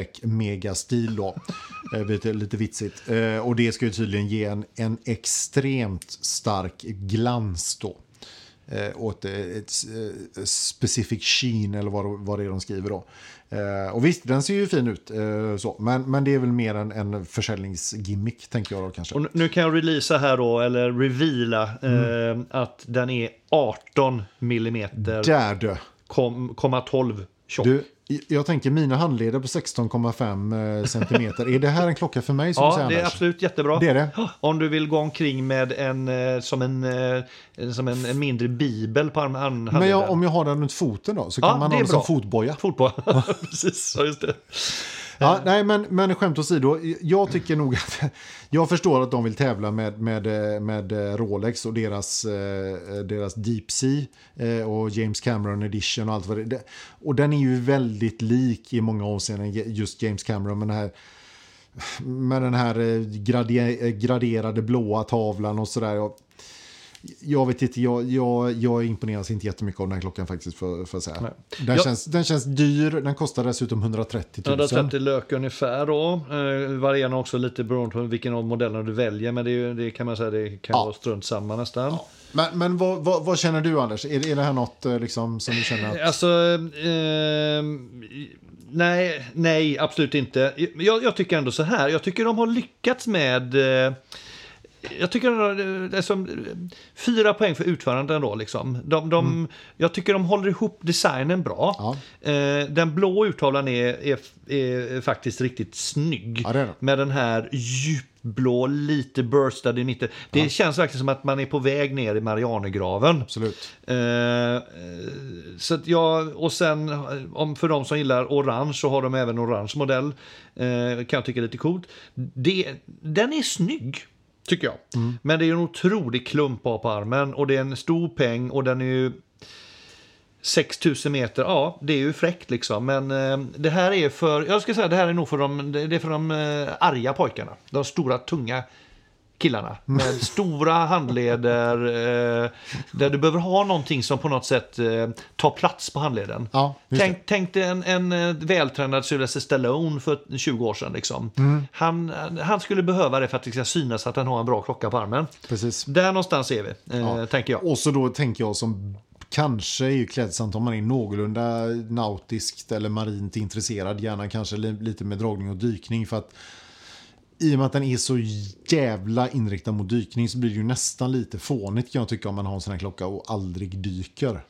Speaker 2: O-megastil då. Eh, lite, lite vitsigt. Eh, och det ska ju tydligen ge en, en extremt stark glans då. Eh, åt eh, ett eh, specific sheen eller vad, vad det är de skriver då. Eh, och visst, den ser ju fin ut. Eh, så. Men, men det är väl mer en, en försäljningsgimmick tänker jag då kanske.
Speaker 1: Och nu- nu kan jag releasa här då, eller reveala,
Speaker 2: Mm.
Speaker 1: eh, att den är 18 millimeter,
Speaker 2: Där du!
Speaker 1: kom, komma 12 tjock.
Speaker 2: Du, i- jag tänker mina handleder på 16,5 eh, centimeter. är det här en klocka för mig som du
Speaker 1: Ja,
Speaker 2: säger
Speaker 1: det är
Speaker 2: Anders?
Speaker 1: absolut jättebra.
Speaker 2: Det är det.
Speaker 1: Om du vill gå omkring med en, eh, som en, eh, som en, en mindre bibel på arm- hand-
Speaker 2: Men jag,
Speaker 1: handleden.
Speaker 2: om jag har den runt foten då så
Speaker 1: Ja,
Speaker 2: kan man
Speaker 1: det
Speaker 2: ha
Speaker 1: är
Speaker 2: den som
Speaker 1: bra.
Speaker 2: fotboja.
Speaker 1: Fotboll, precis. Ja, just det.
Speaker 2: Ja, nej, men, men skämt åsido, jag tycker nog att jag förstår att de vill tävla med, med, eh, med eh, Rolex och deras, eh, deras Deep Sea eh, och James Cameron Edition och allt vad det det- Och den är ju väldigt lik i många avseenden just James Cameron med den här med den här eh, grade, eh, graderade blåa tavlan och sådär. Jag, jag vet inte, jag, jag, jag imponeras inte jättemycket av den här klockan faktiskt. För, för att säga. Den,
Speaker 1: Jag-
Speaker 2: känns, den känns dyr, den kostar dessutom 130 000.
Speaker 1: 130 lök ungefär då. Eh, varierar också lite beroende på vilken av modellerna du väljer. Men det, är ju, det kan man säga det kan
Speaker 2: Ja.
Speaker 1: vara strunt samma nästan.
Speaker 2: Men, men vad, vad, vad känner du Anders? Är, det- är det här något eh, liksom, som du känner att...
Speaker 1: Alltså, ehm, nej, nej, absolut inte. Jag, jag tycker ändå så här, jag tycker de har lyckats med... Eh, jag tycker de har, eh, alltså, fyra poäng för utförandet ändå. Liksom. De, de, Jag tycker de håller ihop designen bra.
Speaker 2: Mm. Ja.
Speaker 1: Eh, den blå urtavlan är, är, är faktiskt riktigt snygg.
Speaker 2: Ja, det är den.
Speaker 1: Med den här djupblå, lite burstad i mitten. Det känns verkligen som att man är på väg ner i Marianergraven.
Speaker 2: Absolut.
Speaker 1: Eh, eh, så att jag, och sen eh, om för de som gillar orange så har de även orange modell. Eh, kan jag tycka är lite coolt. Det, den är snygg. Tycker jag. Men det är en otrolig klump av på armen och det är en stor peng och den är ju 6000 meter, ja det är ju fräckt liksom. Men eh, det här är för, jag ska säga det här är nog för de, det är för de eh, arga pojkarna. De stora tunga killarna. Med stora handleder. Eh, där du behöver ha någonting som på något sätt eh, tar plats på handleden.
Speaker 2: Ja, just
Speaker 1: Tänk, tänk dig en, en eh, vältränad Sylvester Stallone för 20 år sedan. Liksom.
Speaker 2: Mm.
Speaker 1: Han, han skulle behöva det för att det ska synas att han har en bra klocka på armen.
Speaker 2: det. Precis.
Speaker 1: Där någonstans är vi, eh, tänker jag.
Speaker 2: Och så då tänker jag som kanske är ju klädsamt om man är någorlunda nautiskt eller marint intresserad. Gärna kanske li, lite med dragning och dykning för att i och med att den är så jävla inriktad mot dykning så blir det ju nästan lite fånigt kan jag tycka om man har en sån här klocka och aldrig dyker.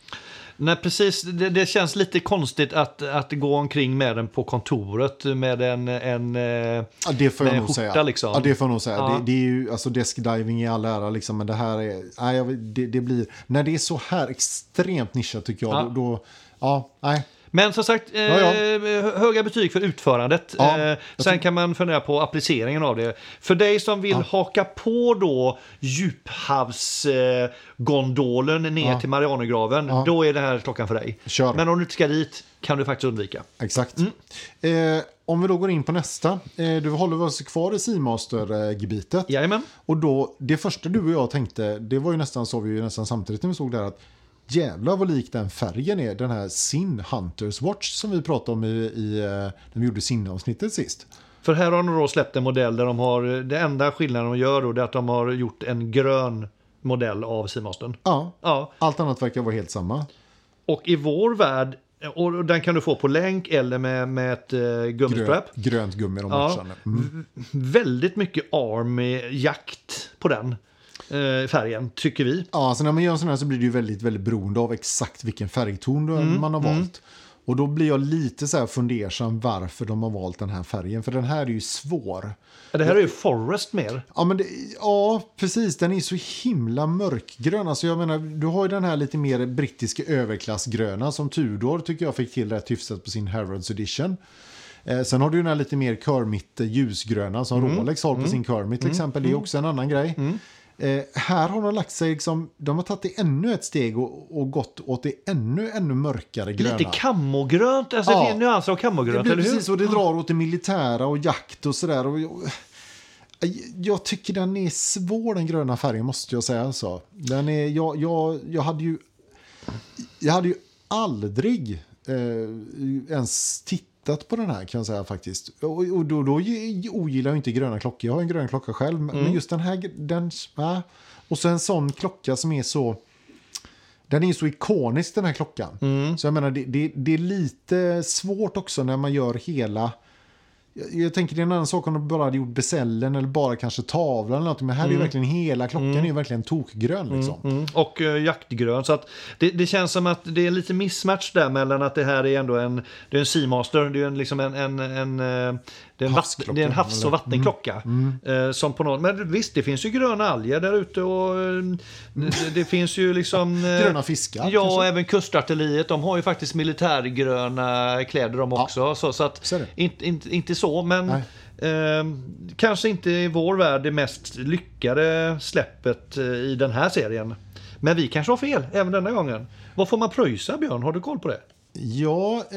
Speaker 1: Nej, precis. Det, det känns lite konstigt att, att gå omkring med den på kontoret med en... en eh,
Speaker 2: Ja, det får jag
Speaker 1: Med
Speaker 2: nog
Speaker 1: skjorta,
Speaker 2: säga.
Speaker 1: liksom.
Speaker 2: Ja, det får jag nog säga.
Speaker 1: Ja.
Speaker 2: Det, det är ju, alltså deskdiving i all ära, liksom, men det här är... Nej, jag, vet- det, det blir, när det är så här extremt nischat tycker jag,
Speaker 1: Ja.
Speaker 2: då... då ja, nej.
Speaker 1: men som sagt, eh,
Speaker 2: Ja, ja.
Speaker 1: hö- höga betyg för utförandet.
Speaker 2: Ja,
Speaker 1: eh,
Speaker 2: jag
Speaker 1: sen kan man fundera på appliceringen av det. För dig som vill haka på då djuphavsgondolen eh, gondolen ner
Speaker 2: Ja.
Speaker 1: till Marianergraven,
Speaker 2: Ja.
Speaker 1: då är det här klockan för dig.
Speaker 2: Kör.
Speaker 1: Men om du inte ska dit kan du faktiskt undvika.
Speaker 2: Exakt.
Speaker 1: Mm.
Speaker 2: Eh, om vi då går in på nästa. Eh, du håller oss kvar i Seamaster-gebitet.
Speaker 1: Jajamän.
Speaker 2: Och då, det första du och jag tänkte, det var ju nästan så vi ju nästan samtidigt när vi såg där att jävlar vad lik den färgen är, den här Sin Hunters Watch som vi pratade om i, i eh, när vi gjorde Sin-avsnittet sist.
Speaker 1: För här har de då släppt en modell där de har... eh, Det enda skillnaden de gör då det är att de har gjort en grön modell av Seamastern.
Speaker 2: Ja,
Speaker 1: Ja,
Speaker 2: allt annat verkar vara helt samma.
Speaker 1: Och i vår värld, och den kan du få på länk eller med, med ett eh, gummistrap.
Speaker 2: Grönt, grönt gummi de
Speaker 1: Ja.
Speaker 2: matchande. Mm.
Speaker 1: Väldigt mycket army-jakt på den eh, färgen, tycker vi.
Speaker 2: Ja, alltså när man gör en sån här så blir det ju väldigt, väldigt beroende av exakt vilken färgton du- man har valt. Och då blir jag lite så här fundersam varför de har valt den här färgen. För den här är ju svår.
Speaker 1: Det här är ju Forest mer.
Speaker 2: Ja, men det, ja precis. Den är så himla mörkgrön. Alltså jag menar, du har ju den här lite mer brittiska överklassgröna som Tudor tycker jag fick till rätt hyfsat på sin Harrods Edition. Eh, sen har du den här lite mer Kermit eh, ljusgröna som Rolex har på sin Kermit till exempel. Det är också en annan grej. Eh, här har de lagt sig, liksom, de har tagit det ännu ett steg och, och gått åt det ännu, ännu mörkare gröna.
Speaker 1: Lite kammogrönt, alltså
Speaker 2: Ja.
Speaker 1: det är nyanser av
Speaker 2: Det
Speaker 1: kammogrönt,
Speaker 2: blir
Speaker 1: eller hur?
Speaker 2: precis och det drar åt det militära och jakt och sådär. Och jag, jag tycker den är svår den gröna färgen måste jag säga. Alltså. Den är, jag, jag, jag, hade ju, jag hade ju aldrig eh, ens tittat tittat på den här kan jag säga faktiskt. Och, och då, då ge- ogillar jag inte gröna klockor. Jag har en grön klocka själv. men-
Speaker 1: Mm.
Speaker 2: Men just den här, den, äh. och så en sån klocka som är så... Den är ju så ikonisk den här klockan.
Speaker 1: Mm.
Speaker 2: Så jag menar det, det, det är lite svårt också när man gör hela... Jag, jag tänker det är en annan sak om de bara hade gjort besällen eller bara kanske tavlan eller någonting. Men här är ju verkligen hela klockan är ju verkligen tokgrön liksom.
Speaker 1: Mm, och eh, jaktgrön. Så att det, det känns som att det är lite mismatch där mellan att det här är ändå en, det är en Seamaster, det är en, liksom en, en, en, eh, det är en, vatten,
Speaker 2: Havsklocka,
Speaker 1: det är en havs och
Speaker 2: eller? Mm.
Speaker 1: vattenklocka. Eh, som på någon, men visst, det finns ju gröna alger där ute och eh, det, det finns ju liksom... eh,
Speaker 2: Gröna fiskar,
Speaker 1: Ja,
Speaker 2: kanske?
Speaker 1: och även kustartilleriet. De har ju faktiskt militärgröna kläder de också. Så, så att,
Speaker 2: Så är det.
Speaker 1: inte, inte, inte så, men eh, kanske inte i vår värld det mest lyckade släppet eh, i den här serien. Men vi kanske har fel även denna gången. Vad får man pröjsa, Björn? Har du koll på det?
Speaker 2: Ja, eh,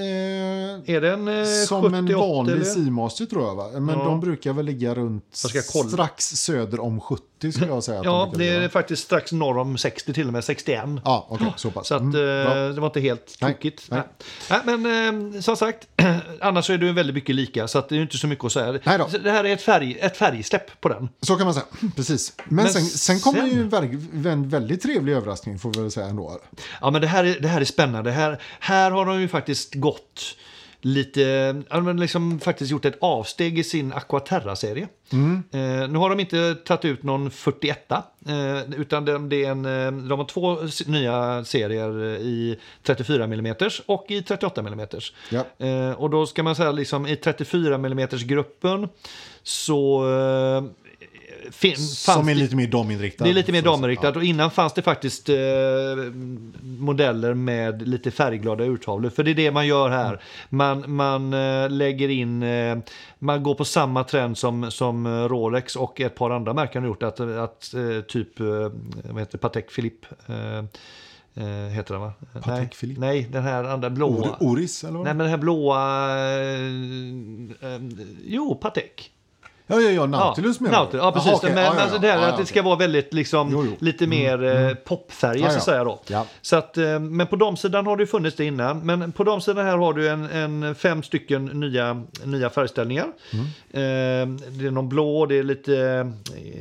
Speaker 1: Är det en eh,
Speaker 2: som
Speaker 1: 70,
Speaker 2: en
Speaker 1: 80
Speaker 2: vanlig
Speaker 1: eller?
Speaker 2: Seamaster tror jag. Va? Men
Speaker 1: Ja.
Speaker 2: de brukar väl ligga runt
Speaker 1: Jag ska kolla.
Speaker 2: strax söder om 70 skulle jag säga. att de
Speaker 1: Ja,
Speaker 2: brukar
Speaker 1: det
Speaker 2: ligga.
Speaker 1: är faktiskt strax norr om 60 till och med, 61.
Speaker 2: Ja, okej, så pass.
Speaker 1: Så att,
Speaker 2: Mm,
Speaker 1: eh,
Speaker 2: bra.
Speaker 1: det var inte helt
Speaker 2: Nej,
Speaker 1: tokigt. Nej.
Speaker 2: nej.
Speaker 1: Nej, men eh, som sagt, annars så är det ju väldigt mycket lika så att det är ju inte så mycket att säga.
Speaker 2: Nej då.
Speaker 1: Så Det här är ett, färg, ett färgsläpp på den.
Speaker 2: Så kan man säga, precis. Men,
Speaker 1: Hmm. Men
Speaker 2: sen, sen kommer
Speaker 1: sen-
Speaker 2: ju en, verk- en väldigt trevlig överraskning får vi väl säga ändå.
Speaker 1: Ja, men det här är, det här är spännande. Här, här har de ju faktiskt gått lite, ja, men liksom faktiskt gjort ett avsteg i sin Aquaterra-serie. Eh, nu har de inte tagit ut någon 41 eh, utan de, det är en, eh, de har två s- nya serier i 34 mm och i 38 mm.
Speaker 2: Ja.
Speaker 1: Eh, och då ska man säga liksom i 34 mm gruppen så eh, fin, fanns
Speaker 2: Som är
Speaker 1: det-
Speaker 2: lite mer daminriktad.
Speaker 1: det är lite mer
Speaker 2: Så att säga.
Speaker 1: damriktat och innan fanns det faktiskt eh, modeller med lite färgglada urtavlor. För det är det man gör här. Man, man eh, lägger in, eh, man går på samma trend som, som eh, Rolex och ett par andra märken har gjort. Att, att eh, typ, eh, vad heter det, Patek Philippe. Eh, eh, heter den va? nej,
Speaker 2: Philippe?
Speaker 1: nej, den här andra blåa.
Speaker 2: Ja. Or- Oris eller vad?
Speaker 1: Nej men den här blåa... Eh, eh, jo, Patek.
Speaker 2: Ja, ja, ja, Nautilus
Speaker 1: Ja,
Speaker 2: menar du?
Speaker 1: Nautilus, ja precis.
Speaker 2: Jaha, okej.
Speaker 1: Men,
Speaker 2: Ja, ja,
Speaker 1: men
Speaker 2: ja.
Speaker 1: alltså det här
Speaker 2: Ja, ja,
Speaker 1: att det ska
Speaker 2: okej.
Speaker 1: vara väldigt liksom,
Speaker 2: Jo, jo.
Speaker 1: lite mer eh, popfärger
Speaker 2: Ja,
Speaker 1: så
Speaker 2: ja.
Speaker 1: att säga då.
Speaker 2: Ja.
Speaker 1: Så att, eh, men på damsidan har det ju funnits det innan. Men på damsidan här har du en, en fem stycken nya, nya färgställningar.
Speaker 2: Mm.
Speaker 1: Eh, det är någon blå, det är lite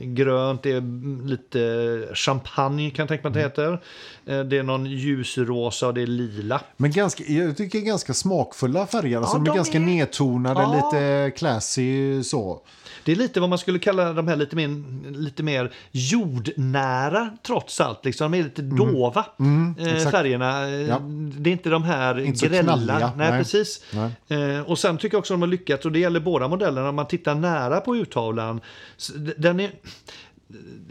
Speaker 1: eh, grönt, det är mm, lite champagne kan jag tänka mig att det
Speaker 2: Mm.
Speaker 1: heter. Eh, det är någon ljusrosa och det är lila.
Speaker 2: Men ganska, jag tycker ganska smakfulla färger. Alltså
Speaker 1: Ja,
Speaker 2: de är
Speaker 1: de
Speaker 2: ganska
Speaker 1: är-
Speaker 2: nedtonade,
Speaker 1: Ja.
Speaker 2: lite classy så.
Speaker 1: Det är lite vad man skulle kalla de här lite mer, lite mer jordnära trots allt. Liksom. De är lite dova eh,
Speaker 2: Mm. exakt.
Speaker 1: färgerna. Eh,
Speaker 2: Ja.
Speaker 1: Det är inte de här
Speaker 2: Inte så
Speaker 1: grälla.
Speaker 2: knalliga,
Speaker 1: Nej,
Speaker 2: nej.
Speaker 1: precis. Eh, och sen tycker jag också att de har lyckats, och det gäller båda modellerna, om man tittar nära på urtavlan. så d- Den är,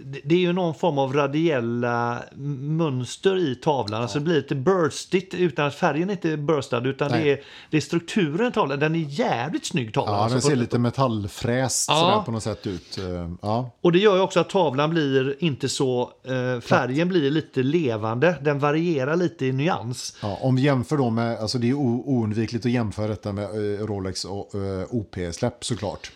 Speaker 1: det- det är ju någon form av radiella mönster i tavlan. Alltså det blir lite burstigt utan att färgen är inte burstad utan det
Speaker 2: Nej.
Speaker 1: är, det är strukturen i tavlan. Den är jävligt snygg tavla.
Speaker 2: Ja,
Speaker 1: alltså,
Speaker 2: den
Speaker 1: på-
Speaker 2: ser lite metallfräst
Speaker 1: Ja.
Speaker 2: sådär på något sätt ut. Eh, Ja,
Speaker 1: Och det gör ju också att tavlan blir inte så... Eh, färgen blir lite levande. Den varierar lite i nyans.
Speaker 2: ja, om vi jämför då med, alltså det är o- oundvikligt att jämföra detta med eh, Rolex och eh, OP-släpp såklart.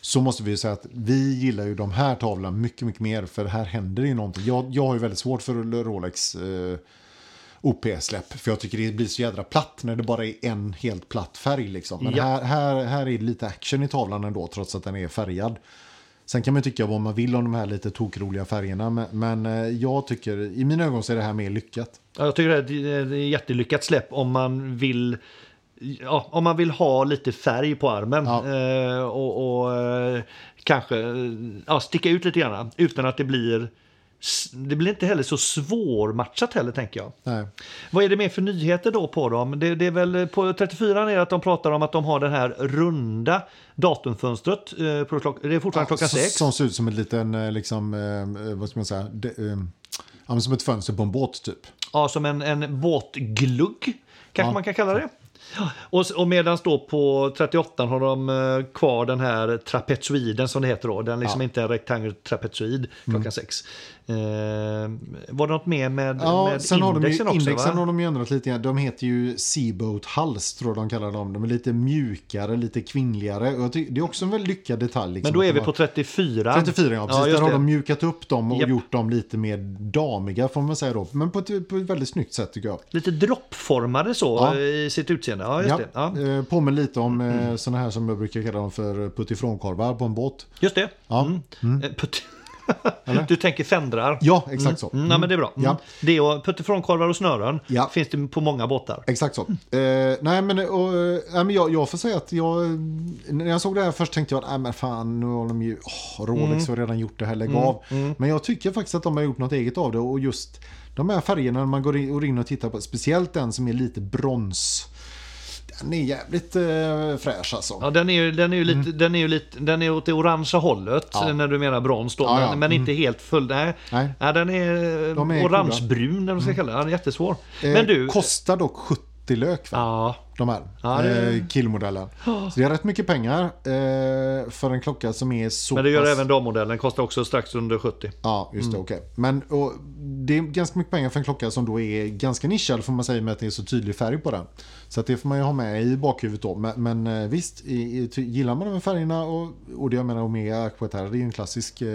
Speaker 2: Så måste vi ju säga att vi gillar ju de här tavlorna mycket, mycket mer för här händer det ju någonting. Jag, jag har ju väldigt svårt för Rolex eh, OP-släpp för jag tycker det blir så jädra platt när det bara är en helt platt färg liksom. Men
Speaker 1: Ja.
Speaker 2: här, här, här är det lite action i tavlan ändå trots att den är färgad. Sen kan man ju tycka vad man vill om de här lite tokroliga färgerna men, men eh, jag tycker, i mina ögon så är det här mer lyckat.
Speaker 1: Ja, Jag tycker det är ett- ett jättelyckat släpp om man vill... Ja, om man vill ha lite färg på armen
Speaker 2: Ja.
Speaker 1: eh, och, och eh, kanske eh, ja, sticka ut lite grann utan att det blir... s- Det blir inte heller så svårmatchat heller tänker jag.
Speaker 2: Nej.
Speaker 1: Vad är det mer för nyheter då på dem? Det, det är väl på 34 är att de pratar om att de har det här runda datumfönstret. Eh, på klock, det är fortfarande klockan
Speaker 2: Så-
Speaker 1: sex.
Speaker 2: Som Alltså, ser ut som en liten, eh, liksom, eh, vad ska man säga, de, eh, ja, men som ett fönster på en båt typ.
Speaker 1: Ja, som en, en båtglugg kanske
Speaker 2: Ja.
Speaker 1: man kan kalla det. Ja, Och, s- och medan då på 38 har de eh, kvar den här trapezoiden som det heter då. Den liksom
Speaker 2: Ja. Mm.
Speaker 1: inte en rektangel trapezoid klockan sex. Eh, var det något mer med,
Speaker 2: Ja,
Speaker 1: med
Speaker 2: sen har de ju,
Speaker 1: indexen också?
Speaker 2: indexen
Speaker 1: va?
Speaker 2: har de ju ändrat lite grann. De heter ju Seaboat Hals tror jag de kallar dem. De är lite mjukare, lite kvinnligare. Och jag tycker, det är också en väldigt lyckad detalj. Liksom,
Speaker 1: Men då
Speaker 2: att
Speaker 1: är
Speaker 2: de
Speaker 1: vi
Speaker 2: har-
Speaker 1: på 34.
Speaker 2: 34 ja, precis.
Speaker 1: just
Speaker 2: Där har
Speaker 1: det.
Speaker 2: de mjukat upp dem och
Speaker 1: Japp.
Speaker 2: gjort dem lite mer damiga får man säga då. Men på ett, på ett väldigt snyggt sätt tycker jag.
Speaker 1: lite droppformade så eh,
Speaker 2: Ja.
Speaker 1: i sitt utseende, ja just det. Ja.
Speaker 2: eh, Påminner lite om mm. sådana här som jag brukar kalla dem för eh, puttifrånkorvar på en båt.
Speaker 1: Just det.
Speaker 2: Ja,
Speaker 1: Eh, putt- du tänker fendrar.
Speaker 2: Mm. ja exakt så.
Speaker 1: Mm, nej, men det är bra. Mm.
Speaker 2: Ja.
Speaker 1: Det och puttifrånkorvar och snören
Speaker 2: Ja.
Speaker 1: finns det på många båtar.
Speaker 2: Exakt så. Eh, nej, men, och, eh, nej, men jag, jag får säga att jag, när jag såg det här först tänkte jag att nej, men fan, nu har de ju, åh, Rolex
Speaker 1: Mm.
Speaker 2: har redan gjort det här, lägg av. Men jag tycker faktiskt att de har gjort något eget av det och just de här färgerna när man går in, går in och tittar på, speciellt den som är lite brons. Den är jävligt eh, fräsch alltså.
Speaker 1: Ja, den är ju, den är ju lite, den är ju lite, den är åt det orangea hållet
Speaker 2: Mm. Ja.
Speaker 1: när du menar brons då,
Speaker 2: Ja,
Speaker 1: men,
Speaker 2: ja. Mm.
Speaker 1: men inte helt full. Nej,
Speaker 2: Nej.
Speaker 1: Ja, den är,
Speaker 2: De är Mm.
Speaker 1: orangebrun eller vad man ska kalla den. Den är jättesvår.
Speaker 2: Eh,
Speaker 1: men du,
Speaker 2: Kostar dock 70 lök va?
Speaker 1: ja,
Speaker 2: De här
Speaker 1: Ja, det-
Speaker 2: eh, killmodellen. Så det är rätt mycket pengar eh, för en klocka som är så
Speaker 1: men det gör
Speaker 2: pass...
Speaker 1: även dammodellen, kostar också strax under 70.
Speaker 2: Ja, just det. Okej. Men och, det är ganska mycket pengar för en klocka som då är ganska nischad får man säga med att det är så tydlig färg på den. Så att det får man ju ha med i bakhuvudet då. Men, men eh, visst, i, i, ty- gillar man de här färgerna och, och det jag menar Omega Aqua Terra, det är ju en klassisk... Eh,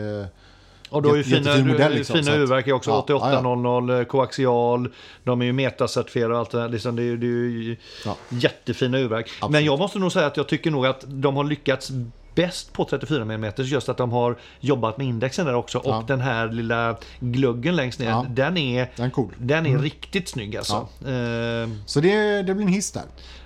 Speaker 1: Och då är ju
Speaker 2: Jätte-
Speaker 1: fina, eh,
Speaker 2: jättefin modell, liksom,
Speaker 1: fina
Speaker 2: så att-
Speaker 1: urverk är också
Speaker 2: Ja,
Speaker 1: 8800, eh, koaxial, de är ju metacertifierade och allt det där. Liksom det, är ju- det är ju
Speaker 2: Ja.
Speaker 1: jättefina urverk.
Speaker 2: Absolut.
Speaker 1: Men jag måste nog säga att jag tycker nog att de har lyckats bäst på 34 mm just att de har jobbat med indexen där också och
Speaker 2: Ja.
Speaker 1: den här lilla gluggen längst ner
Speaker 2: Ja. Mm.
Speaker 1: den är,
Speaker 2: den är cool.
Speaker 1: den är riktigt snygg alltså. Eh,
Speaker 2: Så det, det blir en hiss där.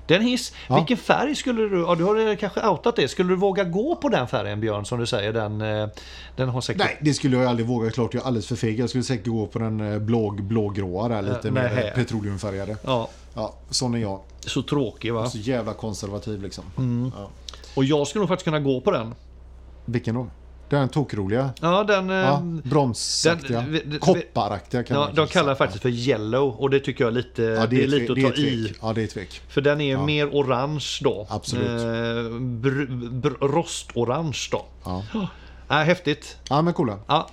Speaker 1: Den hiss,
Speaker 2: Ja.
Speaker 1: vilken färg skulle du, ja, du har redan kanske outat det, skulle du våga gå på den färgen Björn som du säger den, eh, den har säkert
Speaker 2: Nej, det skulle jag aldrig våga. Klart jag är alldeles för feg. Jag skulle säkert gå på den eh, blå, blågråa där, lite
Speaker 1: Eh,
Speaker 2: mer
Speaker 1: nej.
Speaker 2: petroleumfärgade.
Speaker 1: Ja,
Speaker 2: Ja, sån är jag.
Speaker 1: så tråkig va?
Speaker 2: Så jävla konservativ liksom. Ja.
Speaker 1: Och jag skulle nog faktiskt kunna gå på den.
Speaker 2: Vilken då? Den tokroliga?
Speaker 1: Ja, den... eh,
Speaker 2: Ja, bronsaktiga.
Speaker 1: den- vi- vi-
Speaker 2: kopparaktiga kan
Speaker 1: ja,
Speaker 2: man
Speaker 1: de
Speaker 2: kanske
Speaker 1: kallar
Speaker 2: säga.
Speaker 1: det faktiskt för yellow och det tycker jag är lite,
Speaker 2: Ja,
Speaker 1: det är lite att
Speaker 2: det är
Speaker 1: ta
Speaker 2: tvek.
Speaker 1: i.
Speaker 2: Ja, det är tvek.
Speaker 1: För den är ju mer orange då.
Speaker 2: Absolut.
Speaker 1: br- br- rostorange då.
Speaker 2: Ja.
Speaker 1: Äh, häftigt.
Speaker 2: ja, men coola. Eh,
Speaker 1: Ja.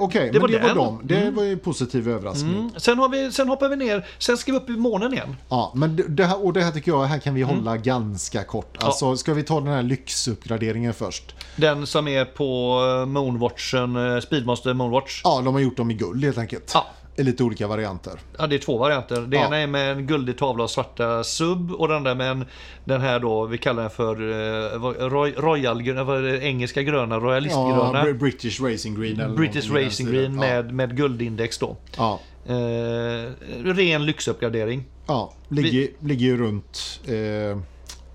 Speaker 2: Okej, men
Speaker 1: var
Speaker 2: det
Speaker 1: den.
Speaker 2: var dem. Det var ju en positiv överraskning.
Speaker 1: Mm. Sen, har vi, sen hoppar vi ner, sen ska vi upp i månen igen.
Speaker 2: Ja, men det- det här, och det här tycker jag, här kan vi
Speaker 1: Mm.
Speaker 2: hålla ganska kort. Alltså, ska vi ta den här lyxuppgraderingen först?
Speaker 1: Den som är på eh, Moonwatchen, eh, Speedmaster Moonwatch.
Speaker 2: Ja, de har gjort dem i guld helt enkelt.
Speaker 1: Ja.
Speaker 2: I lite olika varianter.
Speaker 1: Ja, det är två varianter. Det
Speaker 2: Ja.
Speaker 1: ena är med en guldig tavla och svarta sub och den där med en, den här då, vi kallar den för eh, vad- roy, royal, grö- vad är det? engelska gröna,
Speaker 2: Ja,
Speaker 1: royalistgröna.
Speaker 2: Br- British Racing Green. Eller
Speaker 1: British
Speaker 2: någonting i den
Speaker 1: Racing
Speaker 2: stilen.
Speaker 1: Green med, med guldindex då.
Speaker 2: Ja,
Speaker 1: Eh, ren lyxuppgradering.
Speaker 2: ja. ja. Ligger, ligger ju runt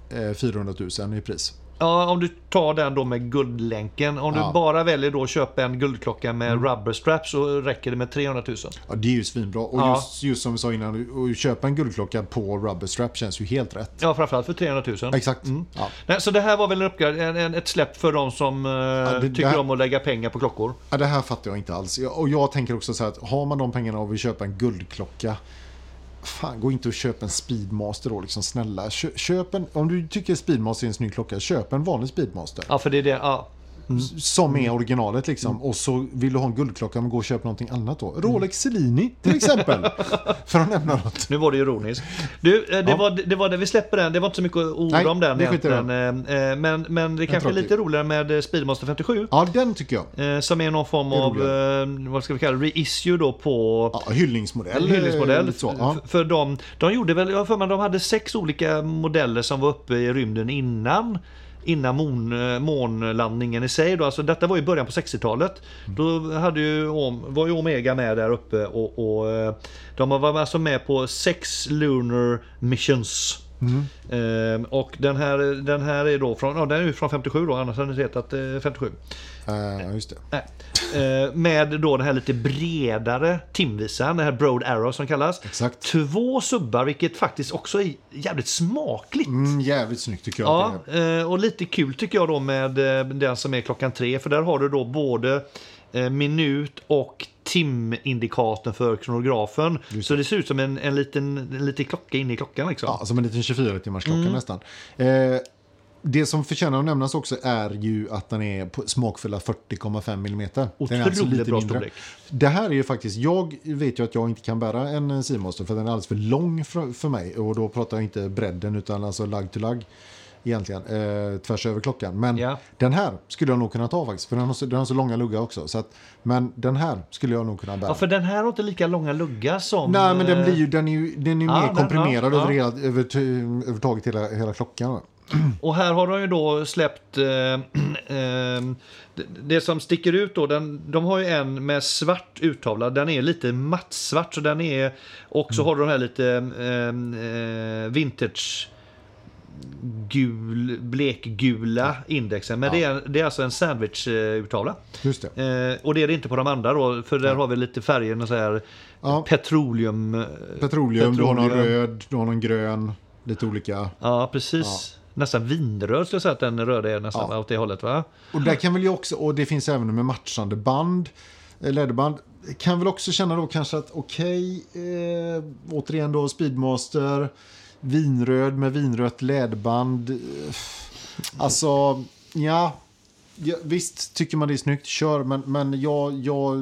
Speaker 2: eh, eh, 400 000 i pris.
Speaker 1: Ja, om du tar den då med guldlänken. Om
Speaker 2: Ja. Mm.
Speaker 1: du bara väljer då att köpa en guldklocka med rubber straps så räcker det med 300 000.
Speaker 2: Ja, det är ju svinbra. Och
Speaker 1: Ja.
Speaker 2: just, just som vi sa innan, att köpa en guldklocka på rubber strap känns ju helt rätt.
Speaker 1: Ja, Mm. framförallt för 300 000.
Speaker 2: Exakt. Ja.
Speaker 1: Nej, så det här var väl en uppgrad- en, en, ett släpp för de som eh,
Speaker 2: det- det
Speaker 1: tycker
Speaker 2: här-
Speaker 1: om att lägga pengar på klockor.
Speaker 2: Ja, det här fattar jag inte alls. Jag, och jag tänker också så här att har man de pengarna och vill köpa en guldklocka, fan gå inte och köp en Speedmaster då, liksom snälla. Kö, köp en, om du tycker Speedmaster är en snygg klocka, köp en vanlig Speedmaster.
Speaker 1: Ja, för det är det. Ja.
Speaker 2: Som är originalet liksom.
Speaker 1: Mm.
Speaker 2: Och så vill du ha en guldklocka, men gå och köp någonting annat då. Rolex Celini till exempel. För att nämna något.
Speaker 1: Nu var det ironiskt. Du, eh, det,
Speaker 2: Ja.
Speaker 1: var, det var det. Vi släpper den. Det var inte så mycket att orda
Speaker 2: Nej,
Speaker 1: om den
Speaker 2: det skiter
Speaker 1: egentligen. Eh, eh, Men, men det kanske är
Speaker 2: tråkig.
Speaker 1: lite roligare med eh, Speedmaster 57.
Speaker 2: Ja, den tycker jag.
Speaker 1: eh, Som är någon form
Speaker 2: Det är
Speaker 1: av, eh, vad ska vi kalla det, reissue då på
Speaker 2: Ja, hyllningsmodell. eh,
Speaker 1: hyllningsmodell.
Speaker 2: lite Så, ja.
Speaker 1: F- För de, de gjorde väl, jag har för mig, de hade sex olika modeller som var uppe i rymden innan innan mån, eh, månlandningen i sig. Då. Alltså, detta var i början på 60-talet.
Speaker 2: Mm.
Speaker 1: Då hade ju, Om- var ju Omega med där uppe och, och eh, de var alltså med på sex Lunar Missions.
Speaker 2: Mm.
Speaker 1: Ehm, och den här, den här är då från, ja, den är ju från 57 då, annars hade den hetat eh, 57.
Speaker 2: Eh, just det.
Speaker 1: Nej. Eh, Med då den här lite bredare timvisan, den här Broad Arrow som kallas.
Speaker 2: Exakt.
Speaker 1: Två subbar, vilket faktiskt också är jävligt smakligt.
Speaker 2: Mm, jävligt snyggt tycker jag
Speaker 1: Ja,
Speaker 2: att det
Speaker 1: eh, och lite kul tycker jag då med eh, den som är klockan tre, för där har du då både eh, minut och timindikatorn för kronografen. Så det ser ut som en, en, liten, en liten klocka inne i klockan liksom.
Speaker 2: är. Ja, som en liten 24-timmarsklocka
Speaker 1: Mm.
Speaker 2: nästan. Eh, det som förtjänar att nämnas också är ju att den är på smakfulla 40,5 mm. Den är
Speaker 1: Otroligt bra storlek.
Speaker 2: Det här är ju faktiskt, jag vet ju att jag inte kan bära en Seamaster för den är alldeles för lång för, för mig. Och då pratar jag inte bredden utan alltså lagg till lagg. egentligen, eh, tvärs över klockan. Men
Speaker 1: Ja.
Speaker 2: den här skulle jag nog kunna ta faktiskt, för den har så, den har så långa luggar också. Så att, men den här skulle jag nog kunna bära.
Speaker 1: Ja, för den här har inte lika långa luggar som...
Speaker 2: Nej, men den
Speaker 1: eh,
Speaker 2: blir ju, den är ju, den är ju
Speaker 1: ja,
Speaker 2: mer
Speaker 1: men-
Speaker 2: komprimerad
Speaker 1: ja,
Speaker 2: över,
Speaker 1: ja.
Speaker 2: hela, över, t- över taget hela, hela klockan.
Speaker 1: Och här har de ju då släppt eh, ehm, det- det som sticker ut då. Den, de har ju en med svart urtavla. Den är lite mattsvart så den är och så har du de här lite ehm, eh, vintage gul, blekgula indexen. Men det, är, det är alltså en sandwich eh, urtavla.
Speaker 2: Just det.
Speaker 1: Eh, och det är det inte på de andra då, för där har vi lite färger, så här
Speaker 2: Ja.
Speaker 1: petroleum... eh,
Speaker 2: Petroleum, du har någon
Speaker 1: petroleum.
Speaker 2: röd, du har någon grön, lite olika.
Speaker 1: Ja, precis. Nästan vinröd skulle jag säga att den röda är nästan åt det hållet va?
Speaker 2: Och där kan väl jag också, och det finns även med matchande band, eh, läderband. Kan väl också känna då kanske att okej, eh, återigen då Speedmaster, vinröd med vinrött läderband. Eh, Alltså, ja. Ja, visst, tycker man det är snyggt, kör, men, men jag... jag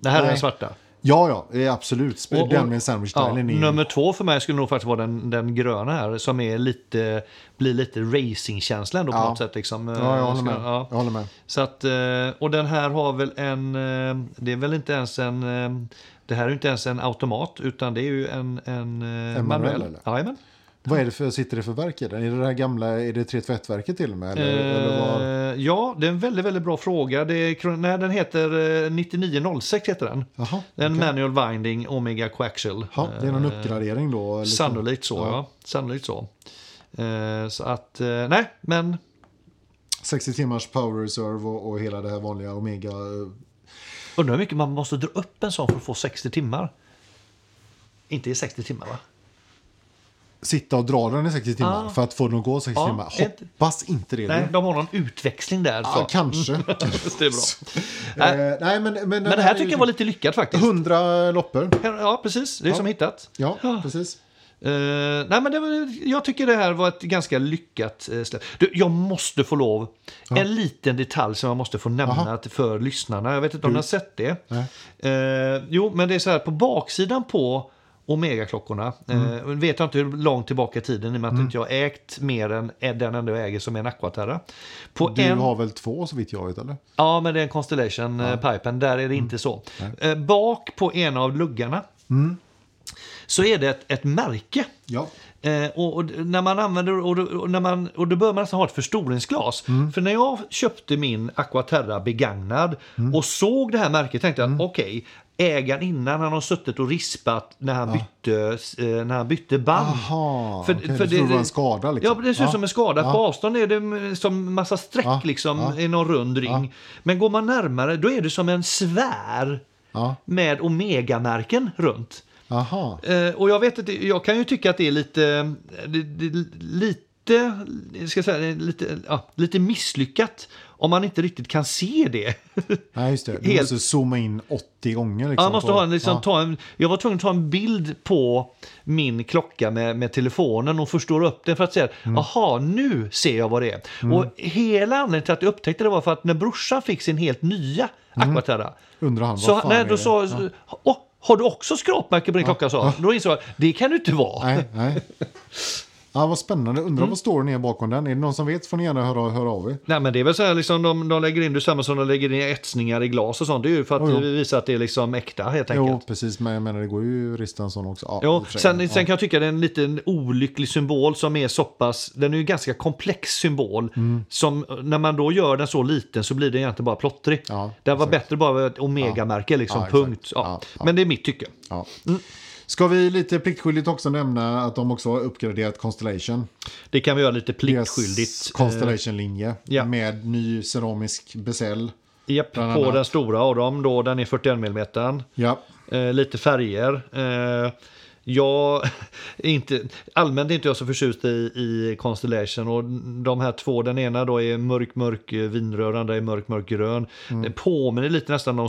Speaker 1: Det här är
Speaker 2: nej.
Speaker 1: den svarta.
Speaker 2: Ja, ja, eh, absolut. Sp-
Speaker 1: Och- och-
Speaker 2: den med sandwich ja,
Speaker 1: Ja, nummer två för mig skulle nog faktiskt vara den, den gröna här som är lite, blir lite racingkänsla ändå på
Speaker 2: Ja.
Speaker 1: något sätt. Liksom.
Speaker 2: Ja, jag
Speaker 1: Eh,
Speaker 2: håller
Speaker 1: ska-
Speaker 2: med.
Speaker 1: ja.
Speaker 2: Jag håller med.
Speaker 1: Så att, eh, och den här har väl en, eh, det är väl inte ens en, eh, det här är ju inte ens en automat utan det är ju en, en, eh,
Speaker 2: En manuell,
Speaker 1: manuell.
Speaker 2: eller?
Speaker 1: Jajamän.
Speaker 2: Vad är det för, sitter det för verk i den? Är det det här gamla, är det tre tvättverket till och med? Eller, eller vad?
Speaker 1: Eh, ja, det är en väldigt, väldigt bra fråga. Det är, kron- nej, den heter eh, 9906 heter den.
Speaker 2: Jaha,
Speaker 1: En
Speaker 2: okej.
Speaker 1: manual binding Omega Coaxial.
Speaker 2: Ja, det är någon
Speaker 1: Eh,
Speaker 2: uppgradering då? liksom.
Speaker 1: Sannolikt så, ja. Sannolikt så. Eh, så att, eh, nej, men
Speaker 2: 60 timmars power reserve och, och hela det här vanliga Omega. eh,
Speaker 1: undrar hur mycket man måste dra upp en sån för att få 60 timmar. Inte i 60 timmar va?
Speaker 2: Sitta och dra den i 60 timmar
Speaker 1: Ah.
Speaker 2: för att få den att gå 60
Speaker 1: Ja,
Speaker 2: timmar.
Speaker 1: ett-
Speaker 2: Hoppas inte det.
Speaker 1: Nej,
Speaker 2: du.
Speaker 1: de har någon utväxling där. Så.
Speaker 2: ah, kanske. Eh,
Speaker 1: det är bra. Nej,
Speaker 2: nej, men, men,
Speaker 1: men det här tycker jag var lite lyckat faktiskt.
Speaker 2: 100 typ loppor.
Speaker 1: Ja, precis. Det är
Speaker 2: Ja.
Speaker 1: som hittat.
Speaker 2: Ja,
Speaker 1: Ja.
Speaker 2: precis.
Speaker 1: Eh, nej, men det var, jag tycker det här var ett ganska lyckat eh, släpp. Du, jag måste få lov. En liten detalj som jag måste få nämna
Speaker 2: Jaha.
Speaker 1: till- för lyssnarna. Jag vet inte om ni har sett det.
Speaker 2: Nej.
Speaker 1: Eh, jo, men det är så här på baksidan på Omega-klockorna.
Speaker 2: Mm.
Speaker 1: Eh, vet jag inte hur långt tillbaka i tiden i och med att inte jag har ägt mer än än den enda jag äger som är en Aquaterra. På
Speaker 2: Du
Speaker 1: en...
Speaker 2: har väl två så vitt jag vet, eller?
Speaker 1: Ja, men det är en Constellation-pipen. Där
Speaker 2: Mm.
Speaker 1: är det inte så. Eh, bak på en av luggarna
Speaker 2: Mm.
Speaker 1: så är det ett, ett märke.
Speaker 2: Ja.
Speaker 1: Eh, och, och när man använder, och, då- och, när man, och då bör man nästan ha ett förstoringsglas.
Speaker 2: Mm.
Speaker 1: För när jag köpte min Aquaterra begagnad
Speaker 2: Mm.
Speaker 1: och såg det här märket tänkte jag okej, ägaren innan han har suttit och rispat när han, bytte, eh, när han bytte band.
Speaker 2: Ah. Aha, okej, du trodde det var en skada, liksom.
Speaker 1: Ja,
Speaker 2: Ah.
Speaker 1: men det ser ut
Speaker 2: Ja.
Speaker 1: som en skada.
Speaker 2: Ja.
Speaker 1: På avstånd är det mm, som massa streck
Speaker 2: Ja.
Speaker 1: liksom,
Speaker 2: Ja.
Speaker 1: i någon
Speaker 2: Ah.
Speaker 1: rund ring. Men går man närmare då är det som en svär
Speaker 2: Ja.
Speaker 1: med omegamärken runt.
Speaker 2: Aha.
Speaker 1: Eh, och jag vet att det, jag kan ju tycka att det är lite, det, det, lite, ska jag säga, lite, ja, lite misslyckat om man inte riktigt kan se det.
Speaker 2: Nej, just det. Du
Speaker 1: Helt-
Speaker 2: måste zooma in 80 gånger. Liksom,
Speaker 1: Ja, jag, måste
Speaker 2: på-
Speaker 1: ha en, liksom,
Speaker 2: Ja.
Speaker 1: ta en, jag var tvungen att ta en bild på min klocka med, med telefonen och förstora upp den för att se,
Speaker 2: Mm.
Speaker 1: jaha, nu ser jag vad det är. Och hela anledningen till att jag upptäckte det var för att när brorsan fick sin helt nya Aquaterra
Speaker 2: Undrar han,
Speaker 1: Så
Speaker 2: Mm. vad
Speaker 1: han-
Speaker 2: fan
Speaker 1: nej,
Speaker 2: är
Speaker 1: då
Speaker 2: det?
Speaker 1: sa "Åh, har du också skrapmärke på din klocka? Sa. han. Då insåg jag, det kan du inte vara.
Speaker 2: Nej, nej. Ja, vad spännande. Undrar
Speaker 1: Mm.
Speaker 2: vad storyn är bakom den. Är det någon som vet får ni gärna höra, höra av er.
Speaker 1: Nej men det är väl så här liksom de, de lägger in, det är samma som de lägger in etsningar i glas och sånt. Det är ju för att
Speaker 2: Jo, jo.
Speaker 1: visa att det är liksom äkta helt
Speaker 2: Jo,
Speaker 1: enkelt.
Speaker 2: precis. Men jag menar, det går ju att rista en sån också. Ja, i
Speaker 1: Jo,
Speaker 2: och för sig.
Speaker 1: sen, sen kan jag tycka det är en liten olycklig symbol som är så pass, den är ju en ganska komplex symbol.
Speaker 2: Mm.
Speaker 1: Som när man då gör den så liten så blir den egentligen bara plottrig.
Speaker 2: Ja,
Speaker 1: det var
Speaker 2: exakt.
Speaker 1: bättre bara med ett omega-märke liksom,
Speaker 2: Ja, exakt.
Speaker 1: punkt. Ja.
Speaker 2: Ja, ja.
Speaker 1: Men det är mitt tycke.
Speaker 2: ja. Ja. Ska vi lite pliktskyldigt också nämna att de också har uppgraderat Constellation.
Speaker 1: Det kan vi göra lite
Speaker 2: Deras
Speaker 1: pliktskyldigt. eh,
Speaker 2: Constellation-linje
Speaker 1: ja.
Speaker 2: med ny keramisk bezel.
Speaker 1: Eh, Japp,
Speaker 2: bland
Speaker 1: på
Speaker 2: annat.
Speaker 1: den stora av dem då, den är 41 mm.
Speaker 2: Ja,
Speaker 1: Eh, lite färger. Eh, jag är inte, allmänt är inte jag så förtjust i, i Constellation. Och de här två, den ena då är mörk, mörk eh, vinröd, den andra är mörk, mörk grön.
Speaker 2: Mm.
Speaker 1: Det påminner lite nästan om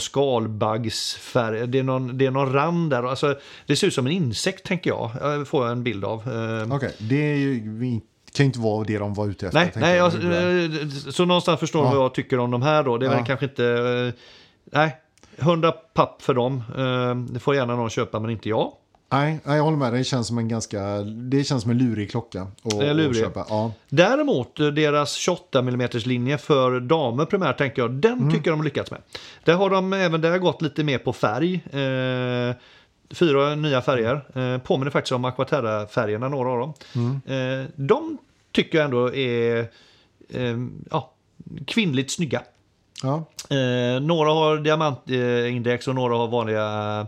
Speaker 1: skalbaggsfärg. Det är någon, det är någon rand där. Alltså, det ser ut som en insekt tänker jag, Eh, får jag en bild av. Eh,
Speaker 2: okej. Det är ju, vi- kan ju inte vara det de var ute efter.
Speaker 1: Nej,
Speaker 2: tänkte
Speaker 1: nej
Speaker 2: jag.
Speaker 1: jag, eh, så någonstans förstår du
Speaker 2: Ja.
Speaker 1: vad jag tycker om de här då. Det är
Speaker 2: Ja.
Speaker 1: väl kanske inte... eh, Nej, 100 papp för dem. Eh, Det får gärna någon köpa, men inte jag.
Speaker 2: Nej, nej, jag håller med dig. Det känns som en ganska... Det känns som en lurig klocka. Att,
Speaker 1: Det är lurig.
Speaker 2: att köpa. Ja.
Speaker 1: Däremot eh, deras 28 mm linje för damer primärt tänker jag, den tycker jag de har lyckats med. Där har de även där gått lite mer på färg. Eh, fyra nya färger. Eh, påminner faktiskt om Aquaterra-färgerna, några av dem. Eh, de tycker jag ändå är eh, ja, kvinnligt snygga.
Speaker 2: Ja.
Speaker 1: Eh, några har diamantindex och några har vanliga eh,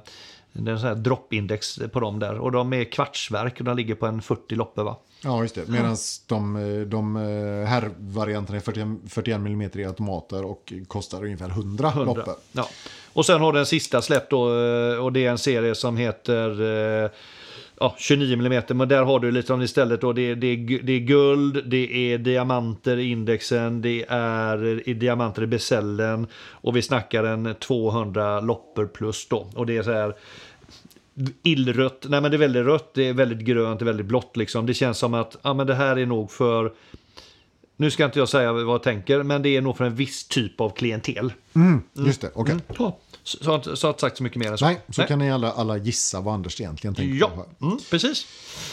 Speaker 1: det är en sån här droppindex på dem där. Och de är kvartsverk och de ligger på en 40 loppor va?
Speaker 2: ja, just det. Medan de, eh, de eh, här varianterna är 41, 41 mm i automater och kostar ungefär 100, 100.
Speaker 1: 100.
Speaker 2: loppor.
Speaker 1: Ja. Och sen har den sista släppt då, eh, och det är en serie som heter eh, ja, 29 mm. Men där har du lite om istället då, det, är- det, är gu- det är guld, det är diamanter i indexen, det är i diamanter i besällen och vi snackar en 200 loppor plus då. Och det är så här illrött, nej men det är väldigt rött, det är väldigt grönt, det är väldigt blått liksom. Det känns som att ja, men det här är nog för nu ska inte jag säga vad jag tänker, men det är nog för en viss typ av klientel.
Speaker 2: Mm, just det, okej.
Speaker 1: Ja, så så har jag inte- så har jag inte sagt så mycket mer än så.
Speaker 2: Nej, så kan ni alla, alla gissa vad Anders egentligen tänker på. här.
Speaker 1: Ja, mm, precis.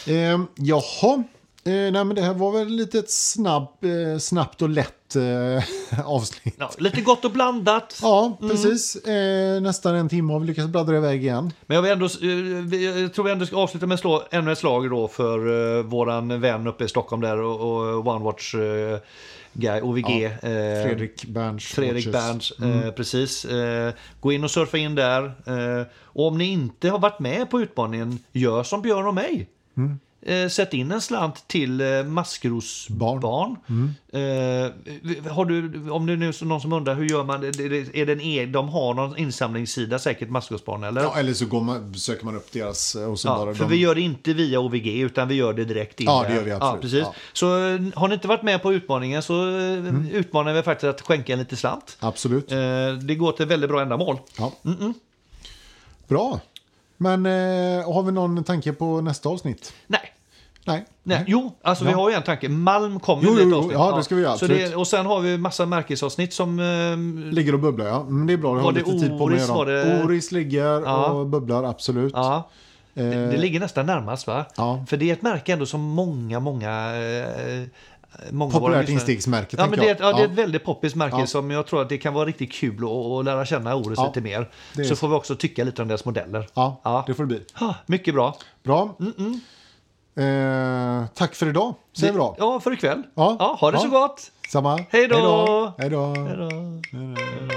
Speaker 2: Eh, jaha. Eh, nej, men det här var väl lite ett snabb, eh, snabbt och lätt eh, avsnitt.
Speaker 1: Ja, lite gott och blandat.
Speaker 2: Ja, precis. Eh, nästan en timme har vi lyckats bladdra iväg igen.
Speaker 1: Men jag, vill ändå, eh, vi- jag tror vi ändå ska avsluta med att slå ännu ett slag då för uh, våran vän uppe i Stockholm där och, och One Watch eh, guy, OVG. eh,
Speaker 2: Fredrik Berns.
Speaker 1: Fredrik
Speaker 2: Watches.
Speaker 1: Berns,
Speaker 2: Mm.
Speaker 1: eh, precis. Eh, gå in och surfa in där. Eh, och om ni inte har varit med på utmaningen, gör som Björn och mig.
Speaker 2: Mm.
Speaker 1: Eh, sätt in en slant till eh, maskrosbarn.
Speaker 2: Mm.
Speaker 1: Eh, vi- har du, om det är nu är någon som undrar, hur gör man? det? Är det, är det en e- de har någon insamlingssida säkert, maskrosbarn, eller?
Speaker 2: Ja, eller så går man, söker man upp deras eh, och så
Speaker 1: Ja,
Speaker 2: bara...
Speaker 1: för
Speaker 2: de-
Speaker 1: vi gör det inte via OVG utan vi gör det direkt in
Speaker 2: Ja,
Speaker 1: där.
Speaker 2: det gör vi absolut.
Speaker 1: Ja, precis.
Speaker 2: Ja. Mm.
Speaker 1: Så eh, har ni inte varit med på utmaningen så eh, utmanar vi faktiskt att skänka en liten slant.
Speaker 2: Absolut.
Speaker 1: Eh, Det går till väldigt bra ändamål.
Speaker 2: Ja.
Speaker 1: Mm,
Speaker 2: Bra. Men eh, har vi någon tanke på nästa avsnitt?
Speaker 1: Nej.
Speaker 2: Nej. Mm.
Speaker 1: Nej. Jo, alltså vi
Speaker 2: Ja.
Speaker 1: har ju en tanke. Malm kommer
Speaker 2: Jo,
Speaker 1: ju
Speaker 2: jo,
Speaker 1: ett
Speaker 2: jo.
Speaker 1: avsnitt.
Speaker 2: Ja, det ska vi göra,
Speaker 1: Så det,
Speaker 2: absolut.
Speaker 1: och sen har vi massa märkesavsnitt som... ehm,
Speaker 2: Ligger och bubblar, ja. Mm, det är bra, jag
Speaker 1: Var
Speaker 2: har
Speaker 1: det
Speaker 2: lite tid på mig
Speaker 1: Oris,
Speaker 2: att
Speaker 1: var
Speaker 2: göra
Speaker 1: det-
Speaker 2: dem. Oris ligger
Speaker 1: Ja.
Speaker 2: och bubblar, absolut.
Speaker 1: ja, det, det
Speaker 2: Eh,
Speaker 1: ligger nästan närmast va?
Speaker 2: Ja.
Speaker 1: För det är ett märke ändå som många, många... Eh, många av våra
Speaker 2: Populärt
Speaker 1: lyssnare-
Speaker 2: instegsmärke,
Speaker 1: Ja, men
Speaker 2: tänker
Speaker 1: det, är,
Speaker 2: jag.
Speaker 1: ett- ja, det är ett
Speaker 2: Ja.
Speaker 1: väldigt poppis märke
Speaker 2: Ja.
Speaker 1: som jag tror att det kan vara riktigt kul att, att lära känna Orust
Speaker 2: Ja,
Speaker 1: lite mer.
Speaker 2: det är
Speaker 1: Så
Speaker 2: så.
Speaker 1: får vi också tycka lite om deras modeller.
Speaker 2: Ja,
Speaker 1: Ja. Mm,
Speaker 2: det får det bli.
Speaker 1: Ha, mycket bra.
Speaker 2: Bra. Eh, tack för idag, säger vi då.
Speaker 1: Ja, för ikväll.
Speaker 2: Ja.
Speaker 1: ha det så
Speaker 2: Ja.
Speaker 1: gott.
Speaker 2: Samma.
Speaker 1: Hej då.
Speaker 2: Hej då.
Speaker 1: Hej då. Hej då.